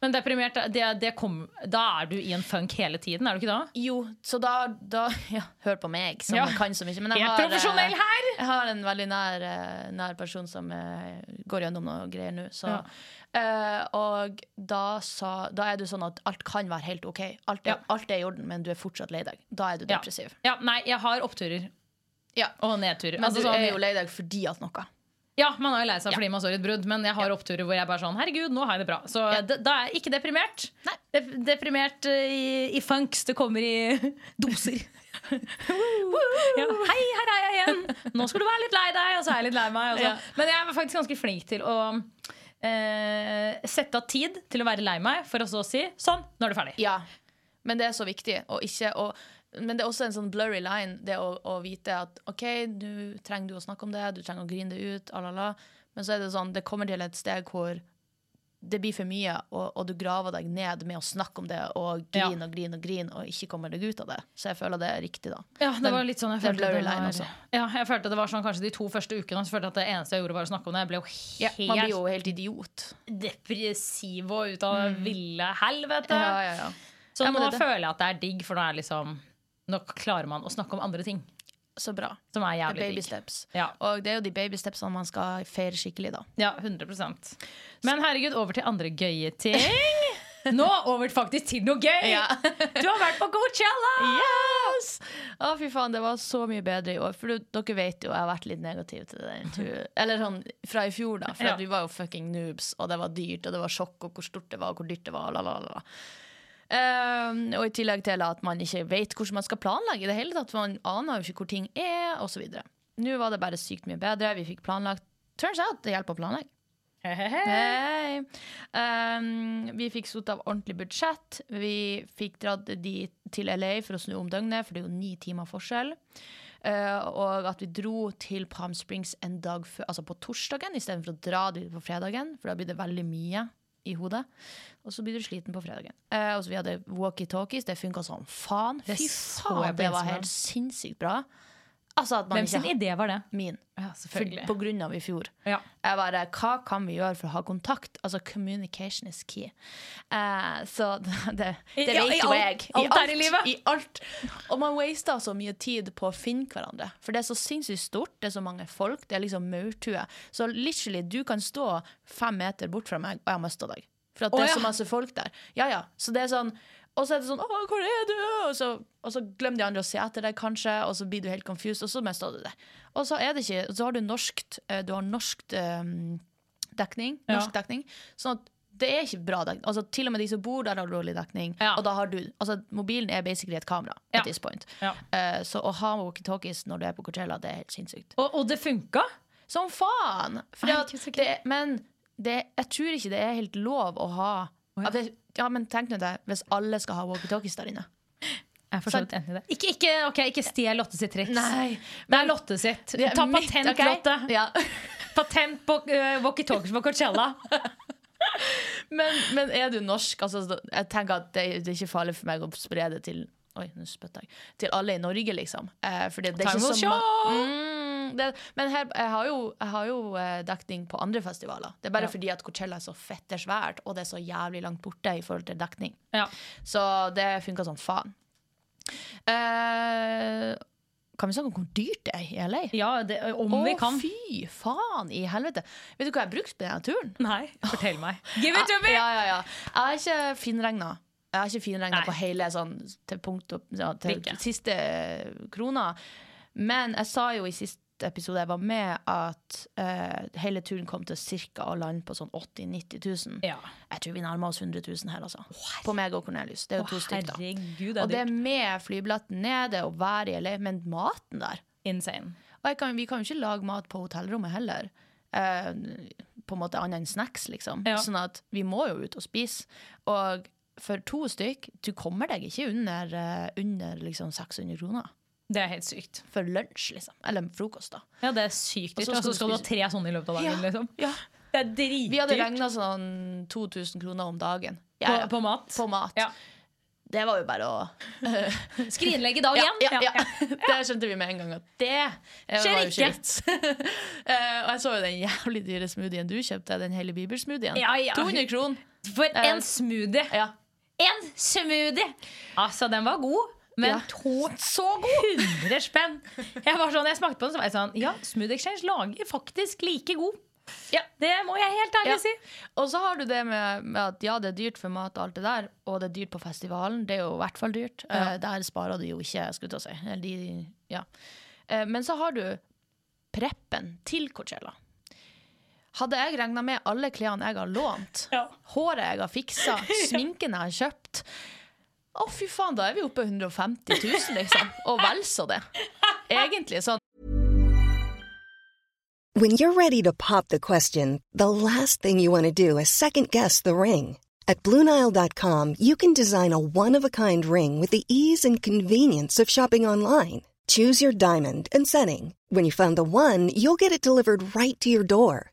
Speaker 2: Men deprimert, det, det kom, da er du i en funk hele tiden, er du ikke da?
Speaker 1: Jo, så da, da ja, Hør på meg, som
Speaker 2: Ja.
Speaker 1: kan så mye. Men jeg
Speaker 2: Helt
Speaker 1: har, eh,
Speaker 2: profesjonell her!
Speaker 1: jeg har en veldig nær, eh, nær person som eh, går gjennom noe greier nå. Så, eh, og da, sa, da er du sånn at alt kan være helt OK. Alt er,
Speaker 2: Ja.
Speaker 1: alt er i orden, men du er fortsatt lei deg. Da er du
Speaker 2: Ja.
Speaker 1: depressiv.
Speaker 2: Ja, nei, jeg har oppturer
Speaker 1: Ja.
Speaker 2: og nedturer.
Speaker 1: Men
Speaker 2: Altså,
Speaker 1: du
Speaker 2: sånn-
Speaker 1: er jo lei deg fordi at noe.
Speaker 2: Ja, man er jo lei seg fordi man står i et brudd, men jeg har oppturer hvor jeg bare sånn Herregud, nå har jeg det bra. Så d- da er jeg ikke deprimert.
Speaker 1: Nei.
Speaker 2: Dep deprimert eh, i, i funks. Det kommer i doser. ja. Hei, her er jeg igjen! Nå skal du være litt lei deg, og så er jeg litt lei meg. og så-
Speaker 1: Ja.
Speaker 2: Men jeg er faktisk ganske flink til å eh, sette av tid til å være lei meg, for å så si sånn, nå er du ferdig.
Speaker 1: Ja. Men det er så viktig å ikke å men det er også en sånn blurry line, det å, å vite at OK, nå trenger du å snakke om det, du trenger å grine det ut, alala. Men så er det sånn, det kommer til et steg hvor det blir for mye, og, og du graver deg ned med å snakke om det og
Speaker 2: Ja.
Speaker 1: grine og grine og grine, og ikke kommer deg ut av det. Så jeg føler det er riktig, da.
Speaker 2: Ja, det
Speaker 1: Den-
Speaker 2: var litt sånn jeg
Speaker 1: den
Speaker 2: følte, det
Speaker 1: blurry line
Speaker 2: var,
Speaker 1: også.
Speaker 2: ja, jeg følte det var sånn kanskje de to første ukene Så følte jeg at det eneste jeg gjorde, var å snakke om det. Jeg ble jo Mm.
Speaker 1: Ja,
Speaker 2: helt
Speaker 1: man blir jo helt idiot.
Speaker 2: depressiv og ut av ville helvete.
Speaker 1: Ja, ja, ja.
Speaker 2: Så
Speaker 1: Ja, men
Speaker 2: nå
Speaker 1: det-
Speaker 2: føler jeg at det er digg, for nå er liksom Nå klarer man å snakke om andre ting
Speaker 1: Så bra.
Speaker 2: som er
Speaker 1: Det er
Speaker 2: jævlig
Speaker 1: baby
Speaker 2: digg.
Speaker 1: steps.
Speaker 2: Ja.
Speaker 1: Og det er jo de baby stepsene man skal feire skikkelig, da.
Speaker 2: ja, 100 Men herregud, over til andre gøye ting. Nå over faktisk til noe gøy!
Speaker 1: Ja.
Speaker 2: Du har vært på Coachella!
Speaker 1: Yes! Å, fy faen, det var så mye bedre i år. For du, dere vet jo, jeg har vært litt negativ til den turen. Eller sånn fra i fjor, da. For
Speaker 2: Ja.
Speaker 1: at vi var jo fucking noobs, og det var dyrt, og det var sjokk, og hvor stort det var, og hvor dyrt det var, la, la, la. la. Ehm, og i tillegg til at man ikke vet hvordan man skal planlegge i det hele tatt. Man aner jo ikke hvor ting er, osv. Nå var det bare sykt mye bedre. Vi fikk planlagt. Turns out det hjelper å planlegge. Hei. Um, vi fikk sota av ordentlig budsjett. Vi fikk dratt de til LA for å snu om døgnet, for det er jo ni timer forskjell. Eh, og at vi dro til Palm Springs en dag før, altså på torsdagen istedenfor å dra dit på fredagen, for da blir det veldig mye i hodet. Og så blir du sliten på fredagen. Eh, og så vi hadde walkietalkies, det funka som faen.
Speaker 2: Det
Speaker 1: Fy
Speaker 2: så jeg
Speaker 1: faen,
Speaker 2: på
Speaker 1: det var
Speaker 2: Instagram.
Speaker 1: helt sinnssykt bra. Altså at man
Speaker 2: Hvem sin
Speaker 1: ikke
Speaker 2: idé var det?
Speaker 1: Min.
Speaker 2: Ja,
Speaker 1: For,
Speaker 2: selvfølgelig.
Speaker 1: på grunn av i fjor.
Speaker 2: Ja.
Speaker 1: Jeg bare, Hva kan vi gjøre for å ha kontakt? Altså, communication is key. Eh, så det, det
Speaker 2: Ja, i
Speaker 1: vet jo
Speaker 2: alt-
Speaker 1: jeg.
Speaker 2: alt her i livet.
Speaker 1: I alt. Og man waster så mye tid på å finne hverandre. For det er så sinnssykt stort, det er så mange folk, det er liksom maurtue. Så literally, du kan stå fem meter bort fra meg, og jeg har mista deg. For at det
Speaker 2: Å,
Speaker 1: er
Speaker 2: ja.
Speaker 1: så masse folk der. Ja, ja. Så det er sånn og så er det sånn 'Å, hvor er du?' Og så, og så glemmer de andre å se etter deg, kanskje, og så blir du helt confused, og så mister du det. Og så er det ikke Så har du norskt eh, Du har norskt eh, dekning. Norsk dekning. Sånn at det er ikke bra dekning. Altså, til og med de som bor der, har dårlig dekning.
Speaker 2: Ja.
Speaker 1: Og da har du Altså, mobilen er basically et kamera
Speaker 2: Ja.
Speaker 1: at this point.
Speaker 2: Ja.
Speaker 1: Eh, så å ha walkietalkies når du er på Coachella, det er helt sinnssykt.
Speaker 2: Og, og det funka!
Speaker 1: Som faen! Fordi at
Speaker 2: Herregud, så kult.
Speaker 1: det, men det, jeg tror ikke det er helt lov å ha
Speaker 2: Å, ja.
Speaker 1: at det, ja, men tenk nå deg hvis alle skal ha walkietalkies der inne.
Speaker 2: Jeg forstår
Speaker 1: Sant.
Speaker 2: enig i det. Ikke, ikke, ok, ikke stjel Lotte sitt triks.
Speaker 1: Nei,
Speaker 2: det er Lotte sitt.
Speaker 1: Det er
Speaker 2: Ta
Speaker 1: mitt,
Speaker 2: patent,
Speaker 1: ok?
Speaker 2: Lotte.
Speaker 1: Ja.
Speaker 2: Patent på uh, walkietalkies på Coachella.
Speaker 1: Men, men er du norsk? Altså, så- jeg tenker at det, det er ikke farlig for meg å spre det til Oi, nå spytta jeg. Til alle i Norge, liksom. Eh, fordi det er
Speaker 2: Time
Speaker 1: ikke
Speaker 2: will
Speaker 1: så ma-
Speaker 2: show!
Speaker 1: Mm, det, men her, jeg har jo, jeg har jo eh, dekning på andre festivaler. Det er bare
Speaker 2: Ja.
Speaker 1: fordi at Coachella er så fette svært, og det er så jævlig langt borte i forhold til dekning.
Speaker 2: Ja.
Speaker 1: Så det funka som faen. Eh, kan vi snakke om hvor dyrt det er i LA?
Speaker 2: ja det, om vi
Speaker 1: Å,
Speaker 2: kan.
Speaker 1: fy faen i helvete! Vet du hva jeg brukte på denne turen?
Speaker 2: Nei, fortell meg. Ah, Give it to me!
Speaker 1: Ja, ja, ja. Jeg har ikke finregna. Jeg har ikke finregna
Speaker 2: Nei.
Speaker 1: på hele sånn til punkt opp, ja, til
Speaker 2: Brikke.
Speaker 1: siste eh, krona. Men jeg sa jo i siste episode jeg var med, at eh, hele turen kom til cirka å lande på sånn 80 000-90 000.
Speaker 2: Ja.
Speaker 1: Jeg tror vi nærmer oss 100 000 her, altså. På meg og Cornelius. Det er
Speaker 2: Å,
Speaker 1: jo to stykker, da.
Speaker 2: herregud,
Speaker 1: Og det
Speaker 2: det er
Speaker 1: er med flybilletten ned, det er å være i LA, men maten der
Speaker 2: insane.
Speaker 1: og jeg kan, vi kan jo ikke lage mat på hotellrommet heller. Eh, på en måte annet enn snacks, liksom.
Speaker 2: Ja.
Speaker 1: Sånn at vi må jo ut og spise. Og for to stykk, du kommer deg ikke under, eh, under liksom 600 kroner.
Speaker 2: Det er helt sykt.
Speaker 1: For lunsj, liksom. Eller frokost, da.
Speaker 2: Ja, det er sykt dyrt.
Speaker 1: Og så skal
Speaker 2: Og så
Speaker 1: du
Speaker 2: skal du ha
Speaker 1: spise-
Speaker 2: tre sånne i løpet av dagen.
Speaker 1: Ja.
Speaker 2: Liksom.
Speaker 1: Ja.
Speaker 2: Det er dritdyrt.
Speaker 1: Vi hadde regna sånn 2000 kroner om dagen.
Speaker 2: på,
Speaker 1: Ja, ja.
Speaker 2: på mat.
Speaker 1: På mat.
Speaker 2: Ja.
Speaker 1: Det var jo bare å
Speaker 2: Skrinlegge dag
Speaker 1: ja,
Speaker 2: igjen.
Speaker 1: ja, ja. Det skjønte vi med en gang at det eh,
Speaker 2: Skjer
Speaker 1: var jo
Speaker 2: ikke.
Speaker 1: ikke vits. Eh, og jeg så jo den jævlig dyre smoothien du kjøpte, den hele bibelsmoothien.
Speaker 2: Ja, ja.
Speaker 1: 200 kroner.
Speaker 2: For
Speaker 1: Eh,
Speaker 2: en smoothie!
Speaker 1: Ja.
Speaker 2: En smoothie! Altså, den var god. Men
Speaker 1: Ja.
Speaker 2: to, så god! 100 spenn. Jeg var sånn, jeg smakte på den, så var jeg sånn Ja, Smooth Exchange lager faktisk like god.
Speaker 1: Ja.
Speaker 2: Det må jeg helt ærlig
Speaker 1: Ja.
Speaker 2: si.
Speaker 1: Og så har du det med, med at ja, det er dyrt for mat og alt det der, og det er dyrt på festivalen. Det er jo i hvert fall dyrt. Eh, der sparer du jo ikke, skulle jeg til å si. Eller de, ja. Eh, men så har du preppen til Coachella. Hadde jeg regna med alle klærne jeg har lånt,
Speaker 2: Ja.
Speaker 1: håret jeg har fiksa, sminken jeg har kjøpt Å, fy faen, da er vi oppe i 150 000, liksom. Og vel så det. Egentlig sånn.
Speaker 3: When you're ready to pop the question, the last thing you want to do is second guess the ring. At Bluenile.com, you can design a one of a kind ring with the ease and convenience of shopping online. Choose your diamond and setting. When you find the one, you'll get it delivered right to your door.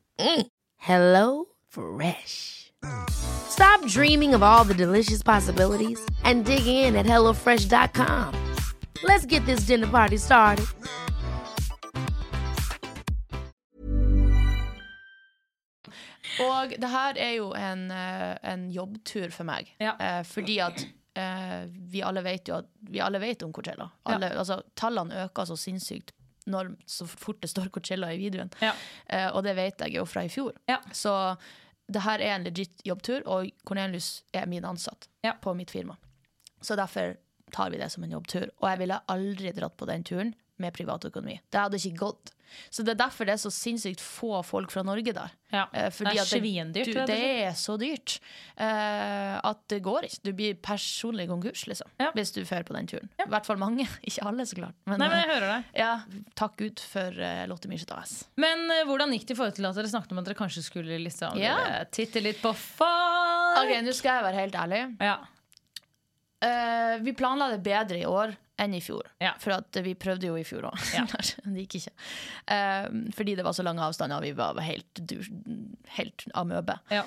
Speaker 4: Mm. Hello Fresh. Stop dreaming of all the delicious possibilities and dig in at HelloFresh.com. Let's get this dinner party started.
Speaker 1: Og det her er jo en, eh, en jobbtur for meg.
Speaker 2: Ja.
Speaker 1: Eh, fordi at eh, vi alle vet jo at Vi alle vet om Coachella. Alle, altså, tallene øker så sinnssykt når, så fort det står Coachella i videoen.
Speaker 2: Ja.
Speaker 1: Eh, og det vet jeg jo fra i fjor.
Speaker 2: Ja.
Speaker 1: Så det her er en legit jobbtur, og Cornelius er min ansatt
Speaker 2: Ja.
Speaker 1: på mitt firma. Så derfor tar vi det som en jobbtur. Og jeg ville aldri dratt på den turen med privatøkonomi. Det hadde ikke gått. Så det er derfor det er så sinnssykt få folk fra Norge der.
Speaker 2: Ja.
Speaker 1: Eh, fordi
Speaker 2: Det er
Speaker 1: at det-
Speaker 2: svindyrt,
Speaker 1: du-
Speaker 2: rett og
Speaker 1: Det er så dyrt eh, at det går ikke. Du blir personlig konkurs liksom,
Speaker 2: Ja.
Speaker 1: hvis du drar på den turen. I hvert fall mange. Ikke alle, så klart. Men,
Speaker 2: Nei, men jeg
Speaker 1: eh,
Speaker 2: hører deg.
Speaker 1: ja, takk Gud for eh, Lotte Myrseth AS.
Speaker 2: Men eh, hvordan gikk det i forhold til at dere snakket om at dere kanskje skulle liksom
Speaker 1: Ja.
Speaker 2: eh, titte litt på far?
Speaker 1: Ok, Nå skal jeg være helt ærlig.
Speaker 2: Ja.
Speaker 1: Eh, vi planla det bedre i år enn i fjor.
Speaker 2: Ja.
Speaker 1: For at vi prøvde jo i fjor òg. det gikk ikke. Eh, fordi det var så lange avstander, og vi var helt, dur, helt amøbe.
Speaker 2: Ja.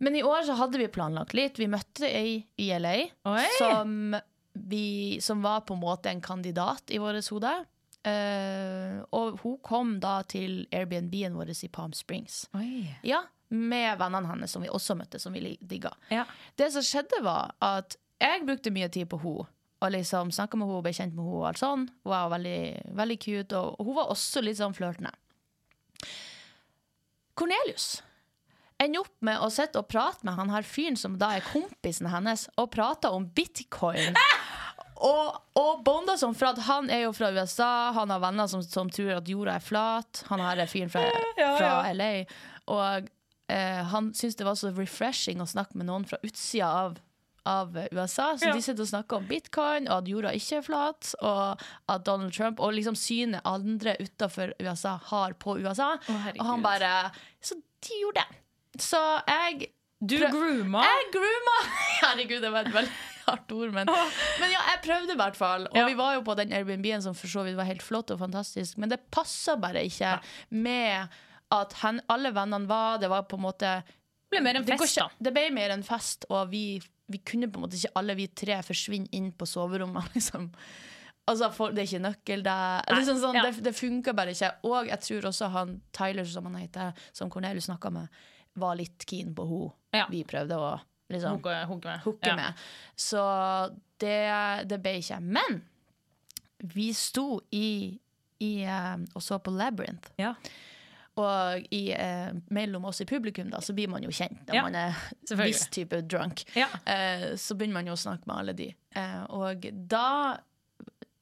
Speaker 1: Men i år så hadde vi planlagt litt. Vi møtte ei i LA
Speaker 2: Oi.
Speaker 1: som, vi, som var på en måte en kandidat i vårt hode. Eh, og hun kom da til Airbnb-en vår i Palm Springs.
Speaker 2: Oi.
Speaker 1: Ja, Med vennene hennes, som vi også møtte, som vi digga.
Speaker 2: Ja.
Speaker 1: Det som skjedde, var at jeg brukte mye tid på henne. Og liksom snakka med henne, ble kjent med henne. og alt sånn. Hun var veldig, veldig cute, og og hun var også litt sånn flørtende. Cornelius ender opp med å sitte og prate med han her fyren som da er kompisen hennes, og prater om bitcoin. Og, og bonda som for at han er jo fra USA, han har venner som, som tror at jorda er flat. Han her er fyren fra,
Speaker 2: Ja,
Speaker 1: fra
Speaker 2: ja.
Speaker 1: LA. Og eh, han syntes det var så refreshing å snakke med noen fra utsida av, av USA. Så
Speaker 2: Ja.
Speaker 1: de sitter og snakker om bitcoin, og at jorda ikke er flat, og at Donald Trump og liksom synet andre utafor USA har på USA.
Speaker 2: herregud.
Speaker 1: og han bare Så de gjorde det. Så jeg
Speaker 2: Du
Speaker 1: prøv- Eh,
Speaker 2: grooma.
Speaker 1: jeg grooma! Herregud, det var et veldig hardt ord, men, men ja, jeg prøvde i hvert fall. Og
Speaker 2: Ja.
Speaker 1: vi var jo på den Airbnb-en som for så vidt var helt flott og fantastisk, men det passa bare ikke med at hen, alle vennene var Det var på en måte
Speaker 2: Det ble mer en
Speaker 1: det, går
Speaker 2: fest,
Speaker 1: ikke,
Speaker 2: da.
Speaker 1: det ble mer en fest, og vi, vi kunne på en måte ikke alle vi tre forsvinne inn på soverommet, liksom. Altså, for, det er ikke nøkkel der. Liksom sånn,
Speaker 2: ja.
Speaker 1: Det, det funka bare ikke. Og jeg tror også han Tyler, som han heter, som Cornelius snakka med, var litt keen på henne.
Speaker 2: Ja.
Speaker 1: Vi prøvde å liksom
Speaker 2: Hooke, hooke med.
Speaker 1: hooke
Speaker 2: Ja.
Speaker 1: med. Så det, det ble ikke. Men vi sto i, i eh, og så på Labyrinth.
Speaker 2: Ja.
Speaker 1: Og i, eh, mellom oss i publikum da, så blir man jo kjent når
Speaker 2: Ja,
Speaker 1: man er
Speaker 2: selvfølgelig.
Speaker 1: viss type drunk.
Speaker 2: Ja.
Speaker 1: Eh, så begynner man jo å snakke med alle de. Eh, og da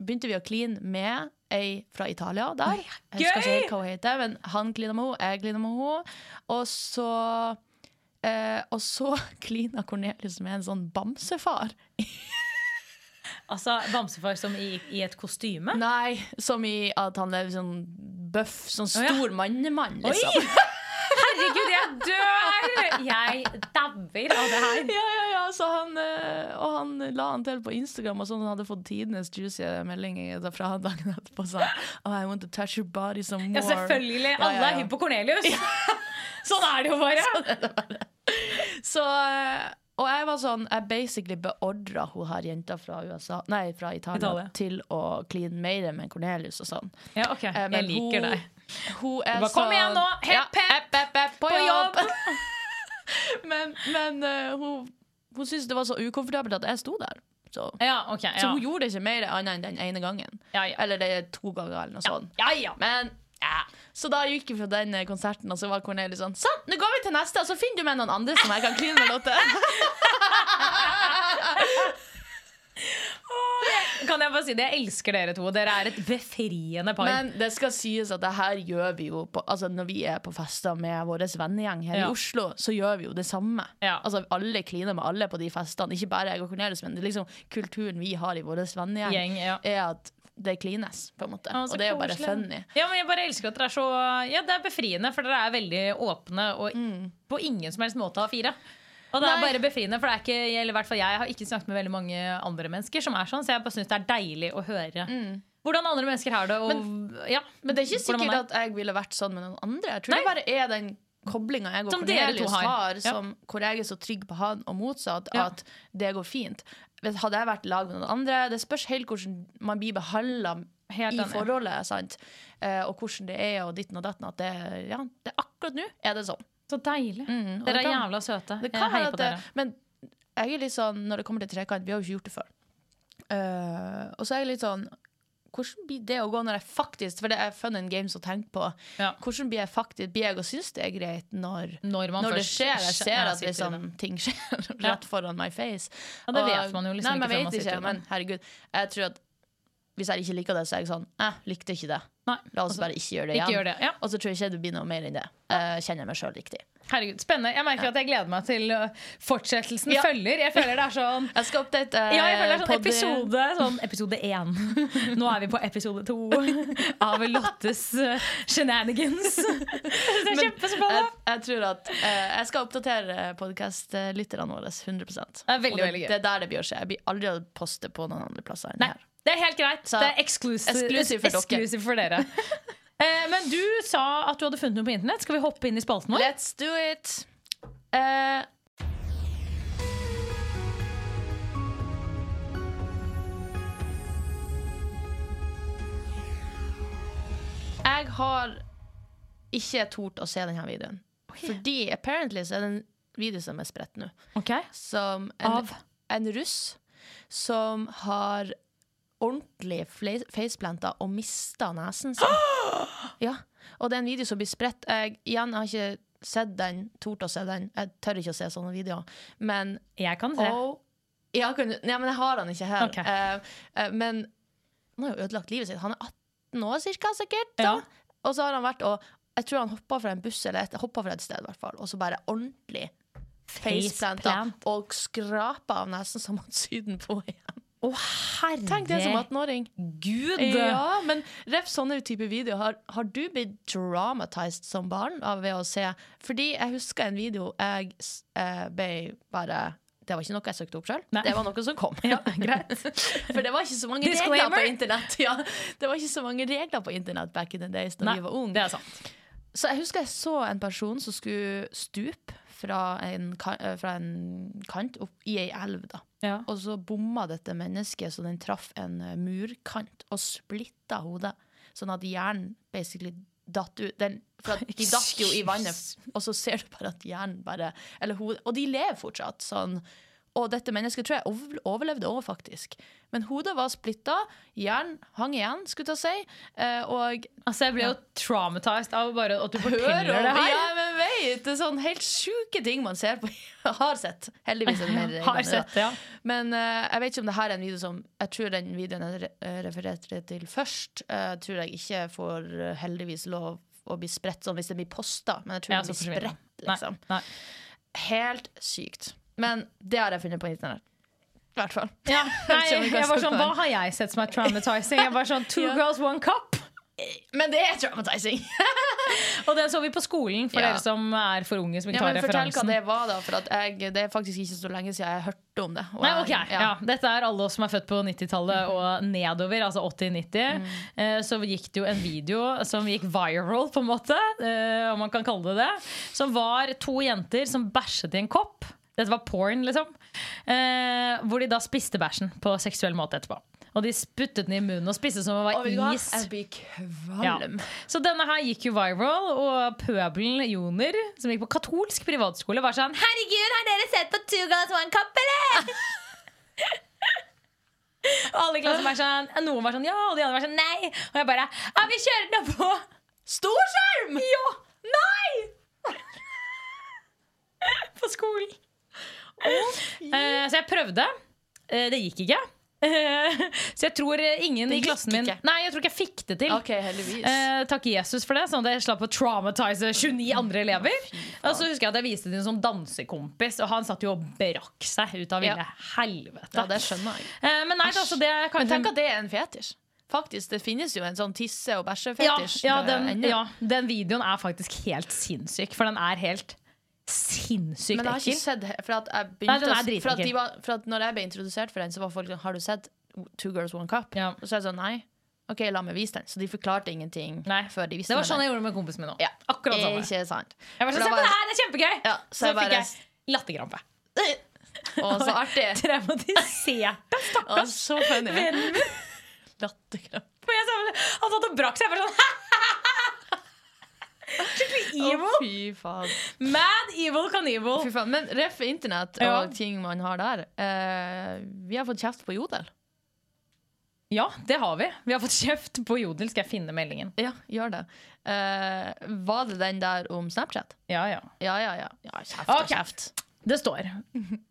Speaker 1: begynte vi å kline med ei fra Italia der. Jeg husker ikke
Speaker 2: gøy!
Speaker 1: helt hva hun heter, men han klina med henne, jeg klina med henne. Og så eh, Og så klina Cornelius med en sånn bamsefar.
Speaker 2: Altså bamsefar som i, i et kostyme?
Speaker 1: Nei, som i at han er sånn bøff, sånn
Speaker 2: Å, ja.
Speaker 1: stor mannemann,
Speaker 2: Oi!
Speaker 1: liksom.
Speaker 2: Herregud, jeg dør! Jeg dauer av det her.
Speaker 1: Ja, ja, ja, så han, eh, og han la han til på Instagram og sånn, han hadde fått tidenes juicy melding i- da fra han dagen etterpå. Sa han, oh, I want to touch your body some more.
Speaker 2: Ja, selvfølgelig.
Speaker 1: Ja, ja, Sånn ja.
Speaker 2: Alle er hypp på Cornelius. Sånn er det jo bare.
Speaker 1: Så eh, Og jeg var sånn, jeg basically beordra hun her jenta fra, USA, nei, fra Italia,
Speaker 2: Italia.
Speaker 1: til å kline mer med Cornelius og sånn.
Speaker 2: Ja, ok.
Speaker 1: Eh, men
Speaker 2: Jeg liker
Speaker 1: hun-
Speaker 2: deg.
Speaker 1: Hun er
Speaker 2: Du bare,
Speaker 1: sånn
Speaker 2: «Kom igjen nå! Hepp, hepp,
Speaker 1: hepp, hepp, på,
Speaker 2: på
Speaker 1: jobb!
Speaker 2: jobb!»
Speaker 1: men men eh, hun, hun syntes det var så ukomfortabelt at jeg sto der. Så,
Speaker 2: Ja, ok. Ja.
Speaker 1: så hun gjorde ikke mer annet enn den ene gangen.
Speaker 2: Ja, ja.
Speaker 1: Eller det er to ganger, eller noe sånt.
Speaker 2: ja, ja.
Speaker 1: Men ja. Så da gikk vi fra den eh, konserten, og så var Cornelius sånn Sånn, nå går vi til neste, og så finner du meg noen andre som jeg kan kline med, Lotte.
Speaker 2: Kan jeg bare si det? Jeg elsker dere to. Dere er et befriende par.
Speaker 1: Men det skal sies at det her gjør vi jo på, Altså når vi er på fester med vår vennegjeng her
Speaker 2: Ja.
Speaker 1: i Oslo, så gjør vi jo det samme.
Speaker 2: Ja.
Speaker 1: Altså Alle kliner med alle på de festene. Ikke bare jeg og Cornelius, men det er liksom kulturen vi har i vår vennegjeng,
Speaker 2: Gjeng, ja.
Speaker 1: er at det klines, på en måte.
Speaker 2: Å, så
Speaker 1: og det er jo bare
Speaker 2: koselig.
Speaker 1: funny.
Speaker 2: Ja, men jeg bare elsker at dere er så Ja, det er befriende, for dere er veldig åpne og på ingen som helst måte har fire. Og det er
Speaker 1: Mm. Nei.
Speaker 2: bare befriende, for det er ikke Eller i hvert fall jeg har ikke snakket med veldig mange andre mennesker som er sånn, så jeg bare syns det er deilig å høre hvordan andre mennesker har det, og ja.
Speaker 1: Mm. Men det er ikke
Speaker 2: hvordan man
Speaker 1: sikkert at jeg ville vært sånn med noen andre. Jeg tror det bare er den koblinga jeg og
Speaker 2: Som dere to
Speaker 1: Cornelius har,
Speaker 2: har. Ja.
Speaker 1: som, hvor jeg er så trygg på han, og motsatt,
Speaker 2: Ja.
Speaker 1: at det går fint. Men Hadde jeg vært i lag med noen andre Det spørs helt hvordan man blir behandla
Speaker 2: Helt
Speaker 1: i
Speaker 2: enig.
Speaker 1: forholdet, sant? Eh, og hvordan det er, og ditten og datten. At det, ja, det akkurat nå er det sånn.
Speaker 2: Så deilig.
Speaker 1: Mm, og det
Speaker 2: Dere er
Speaker 1: kan-
Speaker 2: jævla søte.
Speaker 1: Det
Speaker 2: Jeg
Speaker 1: kan
Speaker 2: heier
Speaker 1: være
Speaker 2: på
Speaker 1: at det,
Speaker 2: dere.
Speaker 1: men jeg er litt sånn, når det kommer til trekant, vi har jo ikke gjort det før. Eh, og så er jeg litt sånn Hvordan blir det å gå når jeg faktisk For det er fun and games å tenke på.
Speaker 2: Ja.
Speaker 1: Hvordan blir jeg faktisk Blir jeg og syns det er greit når,
Speaker 2: Når man
Speaker 1: det
Speaker 2: først
Speaker 1: skjer? Jeg
Speaker 2: skj-
Speaker 1: ser
Speaker 2: ja,
Speaker 1: at
Speaker 2: sitter i
Speaker 1: liksom, ting skjer rett foran my face.
Speaker 2: Ja, det
Speaker 1: Og-
Speaker 2: vet man jo liksom
Speaker 1: nei,
Speaker 2: ikke
Speaker 1: men
Speaker 2: før
Speaker 1: jeg vet
Speaker 2: man sitter
Speaker 1: ikke.
Speaker 2: i det.
Speaker 1: Men herregud, jeg tror at hvis jeg ikke liker det, så er jeg sånn Jeg likte ikke det.
Speaker 2: Nei.
Speaker 1: La oss bare ikke gjøre det
Speaker 2: Altså, Ikke
Speaker 1: igjen.
Speaker 2: gjør det, ja.
Speaker 1: Og så tror jeg ikke det blir noe mer enn det. Eh, kjenner jeg meg sjøl riktig.
Speaker 2: Herregud, spennende. Jeg merker at jeg gleder meg til uh, fortsettelsen
Speaker 1: Ja.
Speaker 2: følger. Jeg føler det er sånn
Speaker 1: Jeg skal oppdate eh,
Speaker 2: Ja, jeg føler det er sånn
Speaker 1: podden-
Speaker 2: episode Sånn episode 1 Nå er vi på episode 2 Av Lottes eh, shenanigans Det er
Speaker 1: Men
Speaker 2: kjempespennende
Speaker 1: Jeg, jeg tror at eh, Jeg skal oppdatere podkastlytterne våre 100
Speaker 2: Det er veldig,
Speaker 1: Og det,
Speaker 2: veldig gøy.
Speaker 1: det er der det bør skje. Jeg blir aldri å poste på noen andre plasser enn
Speaker 2: Nei,
Speaker 1: her.
Speaker 2: det er helt greit
Speaker 1: Så-
Speaker 2: Det er eksklusiv
Speaker 1: Exclusive for dere.
Speaker 2: for dere Eh, Men du sa at du hadde funnet noe på internett Skal vi hoppe inn i spalten vår?
Speaker 1: Let's do it! Eh, jeg har ikke tort å se denne videoen. Fordi apparently så er det en video som er spredt nå.
Speaker 2: Ok
Speaker 1: som en,
Speaker 2: Av?
Speaker 1: en russ som har ordentlig fle- faceplanta og mista nesen sin. Ja. Og det er en video som blir spredt. Jeg, igjen, jeg har ikke sett den, tort å se den. Jeg tør ikke å se sånne videoer. Men
Speaker 2: Jeg kan se
Speaker 1: Oh, ja, kan du, nei, men jeg har han ikke her.
Speaker 2: Ok.
Speaker 1: Eh, eh, men han har jo ødelagt livet sitt. Han er 18 år cirka, sikkert. Da.
Speaker 2: Ja.
Speaker 1: Og så har han vært og Jeg tror han hoppa fra en buss eller et, hoppet fra et sted, i hvert fall. Og så bare ordentlig faceplanta
Speaker 2: Faceplant.
Speaker 1: og skrapa av nesen som han syden på igjen.
Speaker 2: Å
Speaker 1: Tenk det som
Speaker 2: herregud
Speaker 1: 18-åring. Ja, men ref sånne type videoer. Har, har du blitt dramatized som barn av ved å se Fordi jeg husker en video jeg s- eh, ble bare Det var ikke noe jeg søkte opp sjøl,
Speaker 2: Nei.
Speaker 1: det var noe som kom. greit. For det var ikke så mange regler
Speaker 2: Disclaimer.
Speaker 1: på internett. Ja, det var ikke så mange regler på internett back in the days da
Speaker 2: Nei,
Speaker 1: vi var unge.
Speaker 2: det er sant
Speaker 1: Så jeg husker jeg så en person som skulle stupe fra en, ka- eh, fra en kant opp i ei elv. da.
Speaker 2: ja.
Speaker 1: Og så bomma dette mennesket så den traff en eh, murkant og splitta hodet. Sånn at hjernen basically datt ut. Den, for at de datt jo i vannet, og så ser du bare at hjernen bare Eller hodet Og de lever fortsatt sånn. Og dette mennesket tror jeg over- overlevde òg, faktisk. Men hodet var splitta, hjernen hang igjen, skulle ta si. eh, Og
Speaker 2: Altså jeg ble jo traumatized av bare at du
Speaker 1: hører
Speaker 2: forteller
Speaker 1: om
Speaker 2: det her
Speaker 1: Ja, men vet, det er sånn helt sjuke ting man ser på. Har sett. Heldigvis er det mer regler
Speaker 2: Har
Speaker 1: nå, da.
Speaker 2: sett det, ja
Speaker 1: Men eh, jeg vet ikke om det her er en video som Jeg tror den videoen jeg re- eh, refererte til først, eh, tror jeg ikke får eh, heldigvis lov å bli spredt sånn hvis den blir posta. Men jeg tror
Speaker 2: Ja,
Speaker 1: den
Speaker 2: så
Speaker 1: blir
Speaker 2: forsvinner den.
Speaker 1: spredt, liksom.
Speaker 2: Nei, nei.
Speaker 1: Helt sykt. Men det har jeg funnet på internett. I hvert fall.
Speaker 2: Ja, nei,
Speaker 1: Som vi kan
Speaker 2: jeg var sånn,
Speaker 1: snakke
Speaker 2: Hva
Speaker 1: om.
Speaker 2: har jeg sett som er traumatizing? Jeg var sånn, Two
Speaker 1: Ja.
Speaker 2: girls, one cup.
Speaker 1: Men det er traumatizing!
Speaker 2: Og den så vi på skolen, for
Speaker 1: Ja.
Speaker 2: dere som er for unge. som ikke
Speaker 1: Ja, men
Speaker 2: har
Speaker 1: fortell hva
Speaker 2: referansen
Speaker 1: det var, da. For at jeg, det er faktisk ikke så lenge siden jeg hørte om det. Og
Speaker 2: Nei,
Speaker 1: jeg-
Speaker 2: ok, ja. Mm. Dette er alle oss som er født på 90-tallet og nedover, altså 80-90. Eh, Så gikk det jo en video som gikk viral, på en måte, eh, om man kan kalle det det. Som var to jenter som bæsjet i en kopp. Dette var porn, liksom. Eh, hvor de da spiste bæsjen på seksuell måte etterpå. Og de spyttet den i munnen og spiste som om
Speaker 1: Og
Speaker 2: det
Speaker 1: vet du hva?
Speaker 2: var is.
Speaker 1: Jeg blir
Speaker 2: Ja.
Speaker 1: kvalm.
Speaker 2: Så denne her gikk jo viral, og pøbelen Joner, som gikk på katolsk privatskole, var sånn Herregud, har dere sett på Two Girls One Cup, eller? Og alle i klassen var sånn Noen var sånn ja, og de andre var sånn nei. Og jeg bare Ja, vi kjører den opp på Storskjerm! Ja! Nei! på skolen. Eh, så jeg prøvde. Eh, det gikk ikke. Eh, så jeg tror eh, ingen i
Speaker 1: gikk
Speaker 2: klassen min
Speaker 1: ikke.
Speaker 2: Nei, jeg tror ikke jeg fikk det til.
Speaker 1: OK, heldigvis.
Speaker 2: Eh, takk Jesus for det, sånn at jeg slapp å traumatize 29 andre elever. Og så husker jeg at jeg viste det til en sånn dansekompis, og han satt jo og brakk seg ut av ville
Speaker 1: Ja.
Speaker 2: helvete.
Speaker 1: ja, det skjønner jeg.
Speaker 2: Eh, men nei, altså, det
Speaker 1: Men
Speaker 2: kan
Speaker 1: tenk at det er en fetisj. Faktisk, Det finnes jo en sånn tisse- og
Speaker 2: ja,
Speaker 1: bæsjefetisj.
Speaker 2: ja,
Speaker 1: eh,
Speaker 2: den,
Speaker 1: ennå.
Speaker 2: ja, den videoen er faktisk helt sinnssyk, for den er helt sinnssykt
Speaker 1: Men jeg har ikke
Speaker 2: ekkel.
Speaker 1: sett he- For at, jeg
Speaker 2: Nei,
Speaker 1: begynte,
Speaker 2: den
Speaker 1: å-
Speaker 2: er
Speaker 1: for at,
Speaker 2: dritekkel.
Speaker 1: de var, for at når jeg ble introdusert for den, så var folk sånn Har du sett Two Girls One Cup?
Speaker 2: Ja.
Speaker 1: Og så er jeg sånn Nei. OK, la meg vise den. Så de forklarte ingenting
Speaker 2: Nei,
Speaker 1: før de visste
Speaker 2: Det var
Speaker 1: meg
Speaker 2: sånn
Speaker 1: den.
Speaker 2: jeg gjorde med kompisen min nå.
Speaker 1: Ja.
Speaker 2: Akkurat det samme.
Speaker 1: Ikke sant.
Speaker 2: Jeg var
Speaker 1: For da
Speaker 2: sånn, Se på
Speaker 1: var
Speaker 2: det her, det er kjempegøy!
Speaker 1: Ja,
Speaker 2: så
Speaker 1: så jeg
Speaker 2: fikk
Speaker 1: bare-
Speaker 2: jeg latterkrampe.
Speaker 1: Å, så artig.
Speaker 2: Traumatiserte,
Speaker 1: Å,
Speaker 2: stakkars
Speaker 1: så funny.
Speaker 2: vennen min.
Speaker 1: Latterkramp.
Speaker 2: For jeg sa- Han satt og brakk seg. Jeg var sånn Skikkelig
Speaker 1: Å,
Speaker 2: evil.
Speaker 1: fy faen.
Speaker 2: Mad evil kan evil.
Speaker 1: Fy faen. Men ref internett og
Speaker 2: Ja.
Speaker 1: ting man har der. Eh, vi har fått kjeft på Jodel.
Speaker 2: Ja, det har vi. Vi har fått kjeft på Jodel. Skal jeg finne meldingen?
Speaker 1: Ja, gjør det. Eh, var det den der om Snapchat?
Speaker 2: Ja, ja.
Speaker 1: Ja, ja, ja. ja kjeft og
Speaker 2: Ok.
Speaker 1: kjeft.
Speaker 2: Det står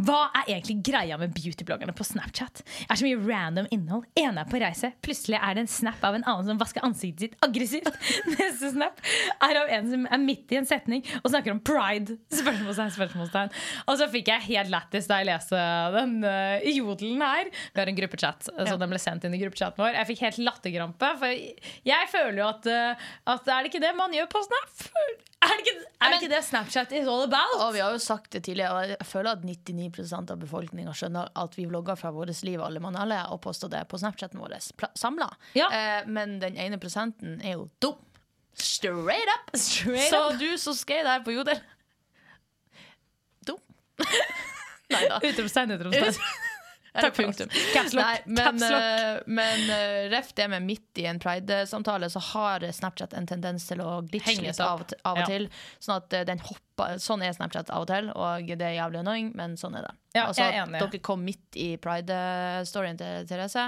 Speaker 2: Hva er egentlig greia med beautybloggerne på Snapchat? Er så mye random innhold. En er på reise, plutselig er det en snap av en annen som vasker ansiktet sitt aggressivt. Neste snap er av en som er midt i en setning og snakker om pride. Spørsmålstegn, spørsmålstegn. Og så fikk jeg helt lættis da jeg leste den eh, i jodelen her. Vi har en gruppechat, eh, så den ble sendt inn i gruppechatten vår. Jeg fikk helt latterkrampe, for jeg føler jo at, eh, at er det ikke det man gjør på Snap? Er det ikke, er det, ikke det Snapchat is all about?
Speaker 1: Og vi har jo sagt det tidligere, og jeg føler at 99 av befolkninga skjønner at vi vlogger fra vårt liv alle mann alle og poster det på Snapchaten vår samla.
Speaker 2: Ja.
Speaker 1: Eh, men den ene prosenten er jo dum. Straight up!
Speaker 2: Straight
Speaker 1: Så
Speaker 2: up.
Speaker 1: du som skrev der på Jodel Dum. Nei da.
Speaker 2: Utropstegn, utropstegn.
Speaker 1: Takk
Speaker 2: for
Speaker 1: punktum.
Speaker 2: oss. Caps lock.
Speaker 1: Nei, men,
Speaker 2: Caps lock.
Speaker 1: eh, men eh, ref det med midt i en pride-samtale, så har Snapchat en tendens til å glitche
Speaker 2: Henge
Speaker 1: litt
Speaker 2: seg
Speaker 1: av,
Speaker 2: opp.
Speaker 1: og til- av og
Speaker 2: Ja.
Speaker 1: til. Sånn at eh, den hopper Sånn er Snapchat av og til, og det er jævlig annoying, men sånn er det.
Speaker 2: Ja,
Speaker 1: altså,
Speaker 2: jeg er enig.
Speaker 1: At dere kom midt i pride-storyen til Therese,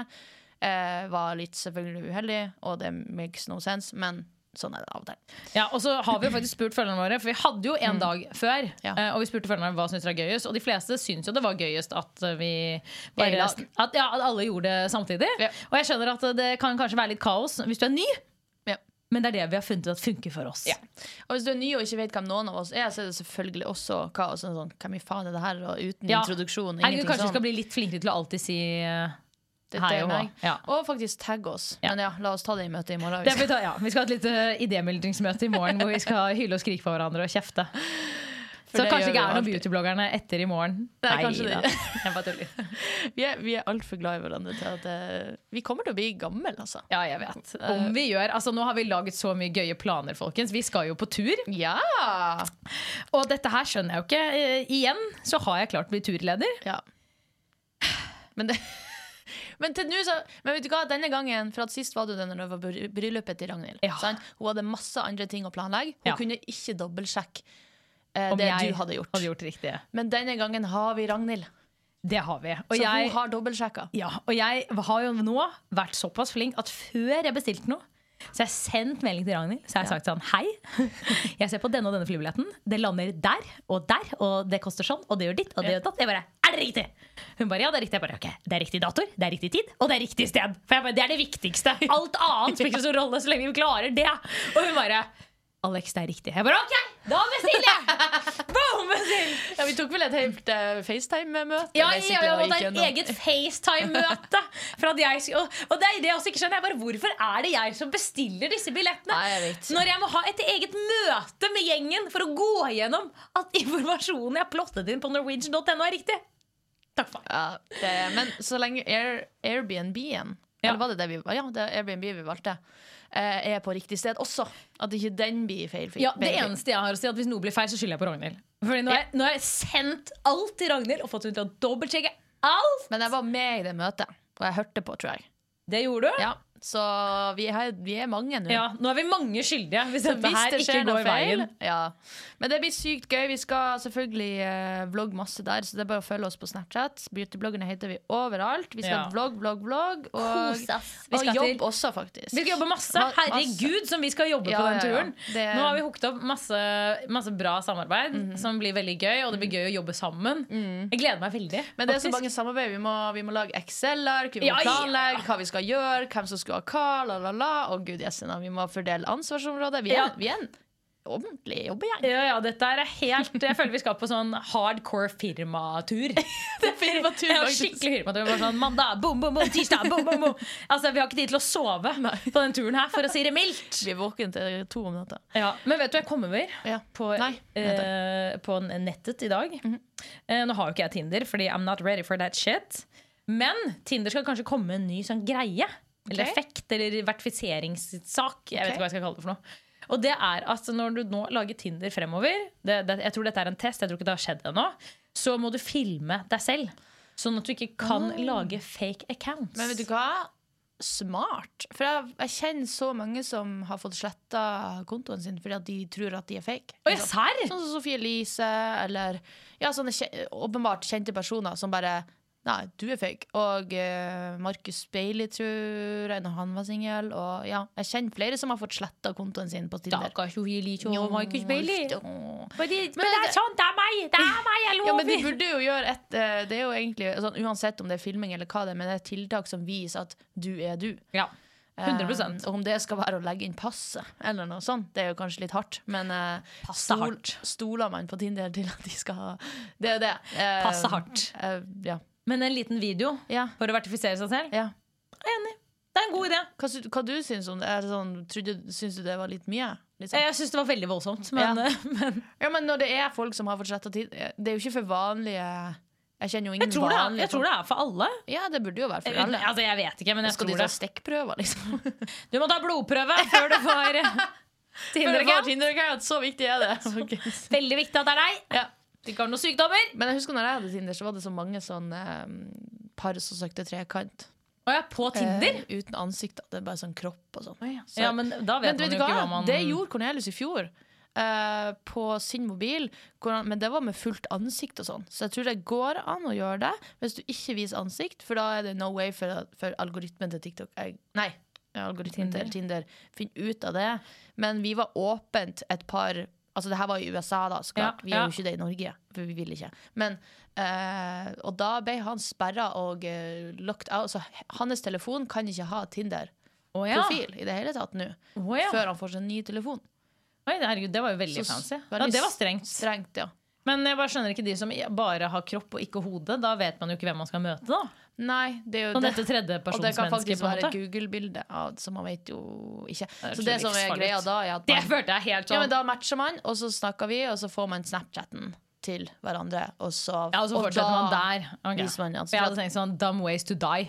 Speaker 1: eh, var litt selvfølgelig uheldig, og det makes no sense, men sånn er det av og til.
Speaker 2: Ja, og så har vi jo faktisk spurt følgerne våre, for vi hadde jo en dag før.
Speaker 1: Mm. Ja.
Speaker 2: eh, Og vi spurte følgerne hva syntes de var gøyest, og de fleste syntes jo det var gøyest at eh, vi
Speaker 1: Er i
Speaker 2: bare,
Speaker 1: lag.
Speaker 2: at, ja, at alle gjorde det samtidig.
Speaker 1: Ja.
Speaker 2: Og jeg skjønner at det kan kanskje være litt kaos hvis du er ny,
Speaker 1: Ja.
Speaker 2: men det er det vi har funnet ut at funker for oss.
Speaker 1: Ja. Og hvis du er ny og ikke vet hvem noen av oss er, så er det selvfølgelig også kaos. Sånn, sånn, hvem i faen er det her? Og uten
Speaker 2: Ja.
Speaker 1: introduksjon.
Speaker 2: Herregud,
Speaker 1: Ingenting
Speaker 2: kanskje vi
Speaker 1: sånn.
Speaker 2: skal bli litt flinkere til å alltid si eh,
Speaker 1: Det
Speaker 2: hei og hå.
Speaker 1: meg.
Speaker 2: Ja.
Speaker 1: Og faktisk tagge oss.
Speaker 2: Ja.
Speaker 1: Men ja, la oss ta det i møtet i morgen. liksom.
Speaker 2: Det får vi, ta, ja. vi skal ha et lite idémyldringsmøte i morgen hvor vi skal hyle og skrike på hverandre og kjefte.
Speaker 1: For
Speaker 2: Så
Speaker 1: det gjør vi
Speaker 2: kanskje ikke er noen
Speaker 1: alltid.
Speaker 2: beautybloggerne etter i morgen.
Speaker 1: Nei, kanskje det.
Speaker 2: da. Jeg bare tuller.
Speaker 1: Vi er, vi er altfor glad i hverandre til at eh, Vi kommer til å bli gamle, altså.
Speaker 2: Ja, jeg vet.
Speaker 1: Eh,
Speaker 2: Om vi gjør, altså Nå har vi laget så mye gøye planer, folkens. Vi skal jo på tur.
Speaker 1: Ja! Ah.
Speaker 2: Og dette her skjønner jeg jo ikke. Eh, igjen så har jeg klart å bli turleder.
Speaker 1: ja. Men det Men til nå så Men vet du hva, denne gangen For at sist var du den når det var bry- bryllupet til Ragnhild.
Speaker 2: Ja.
Speaker 1: sant? Hun hadde masse andre ting å planlegge. Hun
Speaker 2: Ja.
Speaker 1: kunne ikke dobbeltsjekke eh,
Speaker 2: Om
Speaker 1: det
Speaker 2: jeg
Speaker 1: du hadde gjort.
Speaker 2: Hadde gjort det riktige.
Speaker 1: Men denne gangen har vi Ragnhild.
Speaker 2: Det har vi. Og
Speaker 1: Så
Speaker 2: jeg,
Speaker 1: hun har dobbeltsjekka.
Speaker 2: ja, og jeg har jo nå vært såpass flink at før jeg bestilte noe, så har jeg sendt melding til Ragnhild. Så har jeg sagt sånn Hei, jeg ser på denne og denne flybilletten. Det lander der og der, og det koster sånn, og det gjør ditt, og det gjør datt. Jeg bare Er det riktig? Hun bare ja, det er riktig. Jeg bare ok, det er riktig dator, det er riktig tid, og det er riktig sted. For jeg bare, det er det viktigste. Alt annet spiller ikke så stor rolle så lenge vi klarer det. Og hun bare Alex, det er riktig. Jeg bare OK, da bestiller jeg! Boom, bestill!
Speaker 1: Ja, vi tok vel et helt eh, FaceTime-møte.
Speaker 2: Ja,
Speaker 1: basically,
Speaker 2: ja, ja,
Speaker 1: og
Speaker 2: og det
Speaker 1: gikk
Speaker 2: er
Speaker 1: gjennom.
Speaker 2: eget FaceTime-møte. For at jeg skulle- Og, og det er det jeg også ikke skjønner. Jeg bare, hvorfor er det jeg som bestiller disse billettene?
Speaker 1: Nei, jeg vet.
Speaker 2: Når jeg må ha et eget møte med gjengen for å gå gjennom at informasjonen jeg plottet inn på norwegian.no, er riktig. Takk for meg.
Speaker 1: Ja, det, men så lenge Air, Airbnb-en
Speaker 2: Ja.
Speaker 1: Eller var det det vi Ja, det er Airbnb vi valgte. eh, Er på riktig sted også. At ikke den blir feil. feil
Speaker 2: Ja, Det
Speaker 1: feil.
Speaker 2: eneste jeg har å si, er at hvis noe blir feil, så skylder jeg på Ragnhild. Fordi nå har jeg- nå har jeg sendt alt til Ragnhild og fått henne til å dobbeltsjekke alt!
Speaker 1: Men jeg var med i det møtet, og jeg hørte på, tror jeg.
Speaker 2: Det gjorde du?
Speaker 1: Ja, så vi er, vi er mange nå.
Speaker 2: Ja, nå er vi mange skyldige hvis
Speaker 1: Så
Speaker 2: dette
Speaker 1: hvis
Speaker 2: her
Speaker 1: det
Speaker 2: ikke
Speaker 1: skjer noe
Speaker 2: går
Speaker 1: feil
Speaker 2: veien.
Speaker 1: ja. Men det blir sykt gøy. Vi skal selvfølgelig eh, vlogge masse der, så det er bare å følge oss på Snapchat. Beautybloggerne heter vi overalt. Vi skal
Speaker 2: Ja.
Speaker 1: vlogg, vlogg, vlogg. Og,
Speaker 2: Kos oss. Vi
Speaker 1: og
Speaker 2: skal til-
Speaker 1: jobb også, faktisk.
Speaker 2: Vi skal jobbe masse.
Speaker 1: Ma- masse.
Speaker 2: Herregud, som vi skal jobbe
Speaker 1: Ja,
Speaker 2: på den
Speaker 1: ja, ja.
Speaker 2: turen.
Speaker 1: Det- Mhm.
Speaker 2: Nå har vi hooket opp masse, masse bra samarbeid som blir veldig gøy, og det blir gøy å jobbe sammen. Jeg gleder meg veldig.
Speaker 1: Men det er så
Speaker 2: faktisk.
Speaker 1: mange samarbeid. Vi må, vi må lage Excel-ark, vi må
Speaker 2: Ja, ja.
Speaker 1: planlegge hva vi skal gjøre, hvem som skal ha hva, la, la, la. Og gud jessena, vi må fordele ansvarsområdet. Vi er,
Speaker 2: Ja.
Speaker 1: vi er en ordentlig jobbegjeng.
Speaker 2: ja, ja, dette her er helt Jeg føler vi skal på sånn hardcore firmatur.
Speaker 1: firmatur,
Speaker 2: ja,
Speaker 1: faktisk.
Speaker 2: skikkelig firmatur. Bare sånn mandag, bom, bom, bom, tirsdag, bom, bom, bom. Altså, vi har ikke tid til å sove på den turen her, for å si det mildt.
Speaker 1: Vi er våkne til to om natta.
Speaker 2: Ja, men vet du, jeg kom over
Speaker 1: Ja.
Speaker 2: på,
Speaker 1: Nei, Mhm.
Speaker 2: eh, på nettet i dag. Eh, nå har jo ikke jeg Tinder, fordi I'm not ready for that shit. Men Tinder skal kanskje komme med en ny sånn greie. Eller
Speaker 1: Ok.
Speaker 2: effekt, eller vertifiseringssak. Jeg vet
Speaker 1: Ok.
Speaker 2: ikke hva jeg skal kalle det for noe. Og det er at når du nå lager Tinder fremover det, det, Jeg tror dette er en test, jeg tror ikke det har skjedd ennå. Så må du filme deg selv. Sånn at du ikke kan lage fake accounts.
Speaker 1: Ah. Men vet du hva? Smart. For jeg, jeg kjenner så mange som har fått sletta kontoen sin fordi at de tror at de er fake.
Speaker 2: Å, ja, serr?
Speaker 1: Sånn som Sofie Elise, eller ja, sånne kje- åpenbart kjente personer som bare Nei, du er fake. Og eh, Markus Bailey, tror jeg, når han var singel. Og ja, jeg kjenner flere som har fått sletta kontoen sin på Tinder.
Speaker 2: Stakkars Sofie Elise og
Speaker 1: Jo,
Speaker 2: Marcus Bailey.
Speaker 1: jo.
Speaker 2: Men det
Speaker 1: Men det-
Speaker 2: er sånn, det er meg! Det er meg, jeg
Speaker 1: Ja, men
Speaker 2: lover!
Speaker 1: de burde jo gjøre et eh, Det er jo egentlig sånn, Uansett om det er filming eller hva det er, men det er et tiltak som viser at du er du.
Speaker 2: Ja, 100
Speaker 1: Eh, og om det skal være å legge inn passet, eller noe sånt, det er jo kanskje litt hardt. Men eh,
Speaker 2: Passet hardt.
Speaker 1: stoler man på Tinder til at de skal ha Det er jo det. Eh,
Speaker 2: Passet hardt.
Speaker 1: eh, ja.
Speaker 2: Men en liten video
Speaker 1: ja.
Speaker 2: for å vertifisere seg selv?
Speaker 1: ja.
Speaker 2: Jeg er enig. Det er en god idé.
Speaker 1: Hva, sy- hva du syns om det? Er det sånn, trodde, syns du det var litt mye? Liksom?
Speaker 2: Jeg syns det var veldig voldsomt, men,
Speaker 1: Ja.
Speaker 2: men
Speaker 1: Ja, men når det er folk som har fått sletta tid eh, Det er jo ikke for vanlige Jeg kjenner jo ingen
Speaker 2: jeg, tror det er,
Speaker 1: vanlige
Speaker 2: jeg tror det er for alle.
Speaker 1: folk. Ja, det burde jo være for alle.
Speaker 2: Altså, jeg vet ikke, men jeg
Speaker 1: Skal de
Speaker 2: tror det.
Speaker 1: ta stikkprøver, liksom?
Speaker 2: Du må ta blodprøve før du får Tinder-account.
Speaker 1: Tinder-account, så viktig er det. folkens.
Speaker 2: Veldig viktig at det er deg.
Speaker 1: Ja.
Speaker 2: Du ikke har noen sykdommer.
Speaker 1: Men jeg husker når jeg hadde Tinder, så var det så mange sånn eh, par som søkte trekant.
Speaker 2: Og jeg er på Tinder.
Speaker 1: Eh, uten ansikt. da. Det er bare sånn kropp og sånn. Så-
Speaker 2: Ja, men da
Speaker 1: Men vet
Speaker 2: vet man
Speaker 1: du
Speaker 2: jo ikke hva
Speaker 1: hva?
Speaker 2: man
Speaker 1: Det gjorde Cornelius i fjor. eh, på sin mobil, hvor han, men det var med fullt ansikt og sånn. Så jeg tror det går an å gjøre det hvis du ikke viser ansikt, for da er det no way for, for algoritmen til TikTok jeg, Nei, algoritmen til Tinder finner ut av det. Men vi var åpent et par Altså det her var i USA, da, så klart.
Speaker 2: Ja,
Speaker 1: vi er
Speaker 2: ja.
Speaker 1: jo ikke det i Norge, for vi vil ikke. Men, eh, og da ble han sperra og eh, locked out. Så hans telefon kan ikke ha Tinder
Speaker 2: Å, ja.
Speaker 1: profil i det hele tatt nå.
Speaker 2: Å, ja.
Speaker 1: Før han får seg en ny telefon.
Speaker 2: Oi, herregud, det var jo veldig
Speaker 1: Så
Speaker 2: fancy. Ja,
Speaker 1: veldig
Speaker 2: det var strengt.
Speaker 1: Strengt, ja.
Speaker 2: Men jeg bare skjønner ikke de som bare har kropp og ikke hode. Da vet man jo ikke hvem man skal møte, da.
Speaker 1: Nei, det er jo
Speaker 2: Sånn
Speaker 1: det.
Speaker 2: dette
Speaker 1: Og det kan
Speaker 2: tredjepersonsmennesket,
Speaker 1: faktisk
Speaker 2: på en
Speaker 1: være
Speaker 2: måte.
Speaker 1: et Google-bilde, ja, så man vet jo ikke.
Speaker 2: er
Speaker 1: Så det
Speaker 2: så
Speaker 1: som er
Speaker 2: livsfarlig
Speaker 1: greia
Speaker 2: ut.
Speaker 1: da, er at
Speaker 2: Det
Speaker 1: man,
Speaker 2: følte jeg helt
Speaker 1: ja,
Speaker 2: sånn.
Speaker 1: men da matcher man, og så snakker vi, og så får man Snapchatten til hverandre, og så
Speaker 2: Ja, og så fortsetter man der. Ok.
Speaker 1: viser man ansvar.
Speaker 2: For jeg hadde tenkt sånn Dumb ways to die.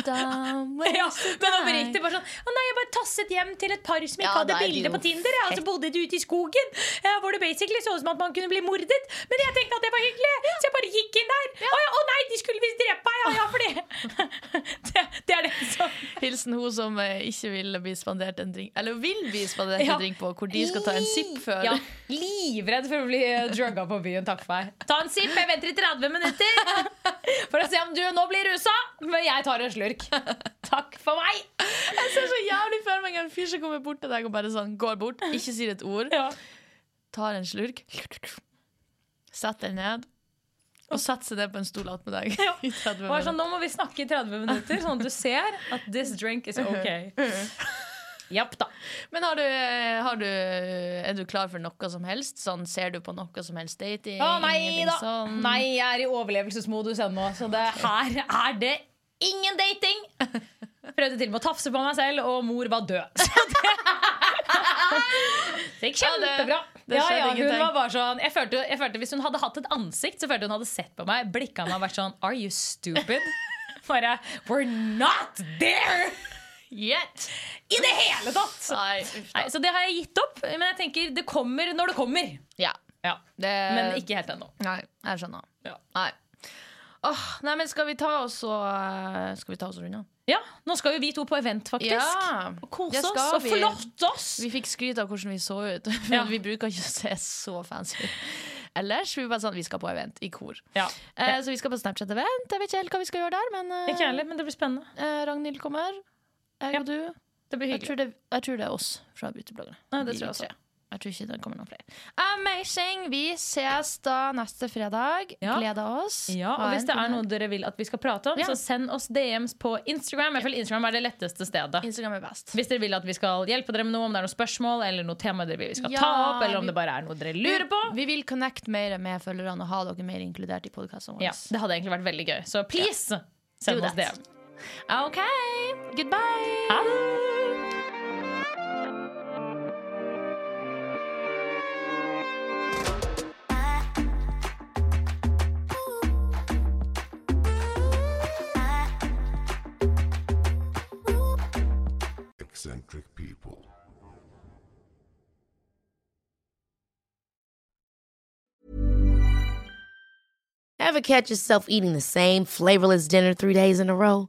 Speaker 1: der.
Speaker 2: ja, men oppriktig bare sånn Å nei, jeg bare tasset hjem til et par som ikke
Speaker 1: Ja,
Speaker 2: hadde
Speaker 1: da er det
Speaker 2: bilde
Speaker 1: jo
Speaker 2: på Tinder. Og så bodde de ute i skogen, eh, hvor det basically så ut som at man kunne bli mordet. Men jeg tenkte at det var hyggelig, så jeg bare gikk inn der. Å ja, å nei, de skulle visst drepe meg! Ja, ja, for det. det Det er det som
Speaker 1: Hilsen hun som eh, ikke vil bli spandert en drink, eller vil bli spandert
Speaker 2: Ja.
Speaker 1: en drink på, hvor de skal ta en sipp før.
Speaker 2: Ja, Livredd for å bli drugga på byen. Takk for meg. Ta en sipp, jeg venter i 30 minutter for å se om du nå blir rusa. Men jeg tar en slurk. Takk for meg.
Speaker 1: Jeg ser så jævlig for meg en fyr som kommer bort til deg og bare sånn, går bort, ikke sier et ord.
Speaker 2: Ja.
Speaker 1: tar en slurk, Sett deg ned, og setter seg ned på en stol attmed deg.
Speaker 2: Ja.
Speaker 1: i 30
Speaker 2: Bare sånn,
Speaker 1: minutter.
Speaker 2: nå må vi snakke i 30 minutter, sånn at du ser at this drink is ok. Japp da.
Speaker 1: Men har du, har du, er du klar for noe som helst? Sånn, ser du på noe som helst dating?
Speaker 2: Å nei
Speaker 1: Ingenting
Speaker 2: da!
Speaker 1: Sånn.
Speaker 2: Nei, jeg er i overlevelsesmodus ennå, så det her er det ingen dating! Prøvde til og med å tafse på meg selv, og mor var død. Så det, det gikk
Speaker 1: Ja, det-
Speaker 2: kjempebra.
Speaker 1: det
Speaker 2: ja,
Speaker 1: skjedde
Speaker 2: ja, hun
Speaker 1: ingenting.
Speaker 2: var bare sånn, jeg følte, jeg følte Hvis hun hadde hatt et ansikt, så følte hun hadde sett på meg, blikka meg og vært sånn Are you stupid? Bare We're not there! Yet! I det hele tatt!
Speaker 1: Nei, uff da.
Speaker 2: Nei, så det har jeg gitt opp, men jeg tenker det kommer når det kommer.
Speaker 1: Ja.
Speaker 2: Ja. Eh,
Speaker 1: Det-
Speaker 2: Men ikke helt ennå.
Speaker 1: Nei, jeg skjønner.
Speaker 2: Ja.
Speaker 1: Nei. Åh, nei, men skal vi ta oss og eh, Skal vi ta oss og runde av?
Speaker 2: Ja, nå skal jo vi to på event, faktisk.
Speaker 1: Ja,
Speaker 2: Og kose
Speaker 1: det skal
Speaker 2: oss og
Speaker 1: vi.
Speaker 2: flotte oss.
Speaker 1: Vi fikk skryt av hvordan vi så ut, men
Speaker 2: Ja.
Speaker 1: vi bruker ikke å se så fancy ut. Ellers vi bare sånn, vi skal på event i kor.
Speaker 2: Ja.
Speaker 1: Eh, så vi skal på Snapchat-event. Jeg vet ikke helt hva vi skal gjøre der, men eh,
Speaker 2: Ikke jeg heller, men det blir spennende.
Speaker 1: eh, Ragnhild kommer. Jeg
Speaker 2: Ja,
Speaker 1: og du.
Speaker 2: Det blir
Speaker 1: Jeg
Speaker 2: hyggelig.
Speaker 1: tror, det, jeg tror det er oss fra Beautybloggerne.
Speaker 2: Ja, det
Speaker 1: Vi
Speaker 2: tror jeg også.
Speaker 1: tre. Jeg tror ikke det kommer noen flere. Amazing! Vi ses da neste fredag.
Speaker 2: Ja.
Speaker 1: Gleder oss.
Speaker 2: Ja,
Speaker 1: Ha
Speaker 2: og Hvis
Speaker 1: en
Speaker 2: det er
Speaker 1: fin
Speaker 2: noe
Speaker 1: helg.
Speaker 2: dere vil at vi skal prate om,
Speaker 1: Ja.
Speaker 2: så send oss DMs på Instagram. Jeg føler Instagram er det letteste stedet.
Speaker 1: Instagram er best.
Speaker 2: Hvis dere vil at vi skal hjelpe dere med noe, om det er noen spørsmål eller noe tema dere vil vi skal
Speaker 1: Ja,
Speaker 2: ta opp, eller om
Speaker 1: vi-
Speaker 2: det bare er noe dere lurer på.
Speaker 1: Vi vil connect mer med følgerne og ha dere mer inkludert i podkasten vår.
Speaker 2: Ja, Det hadde egentlig vært veldig gøy. Så please,
Speaker 1: Do
Speaker 2: send oss
Speaker 1: that.
Speaker 2: DM.
Speaker 1: OK! Goodbye!
Speaker 2: Ha det!
Speaker 5: eccentric people.
Speaker 4: Ever catch yourself eating the same flavorless dinner three days in a row?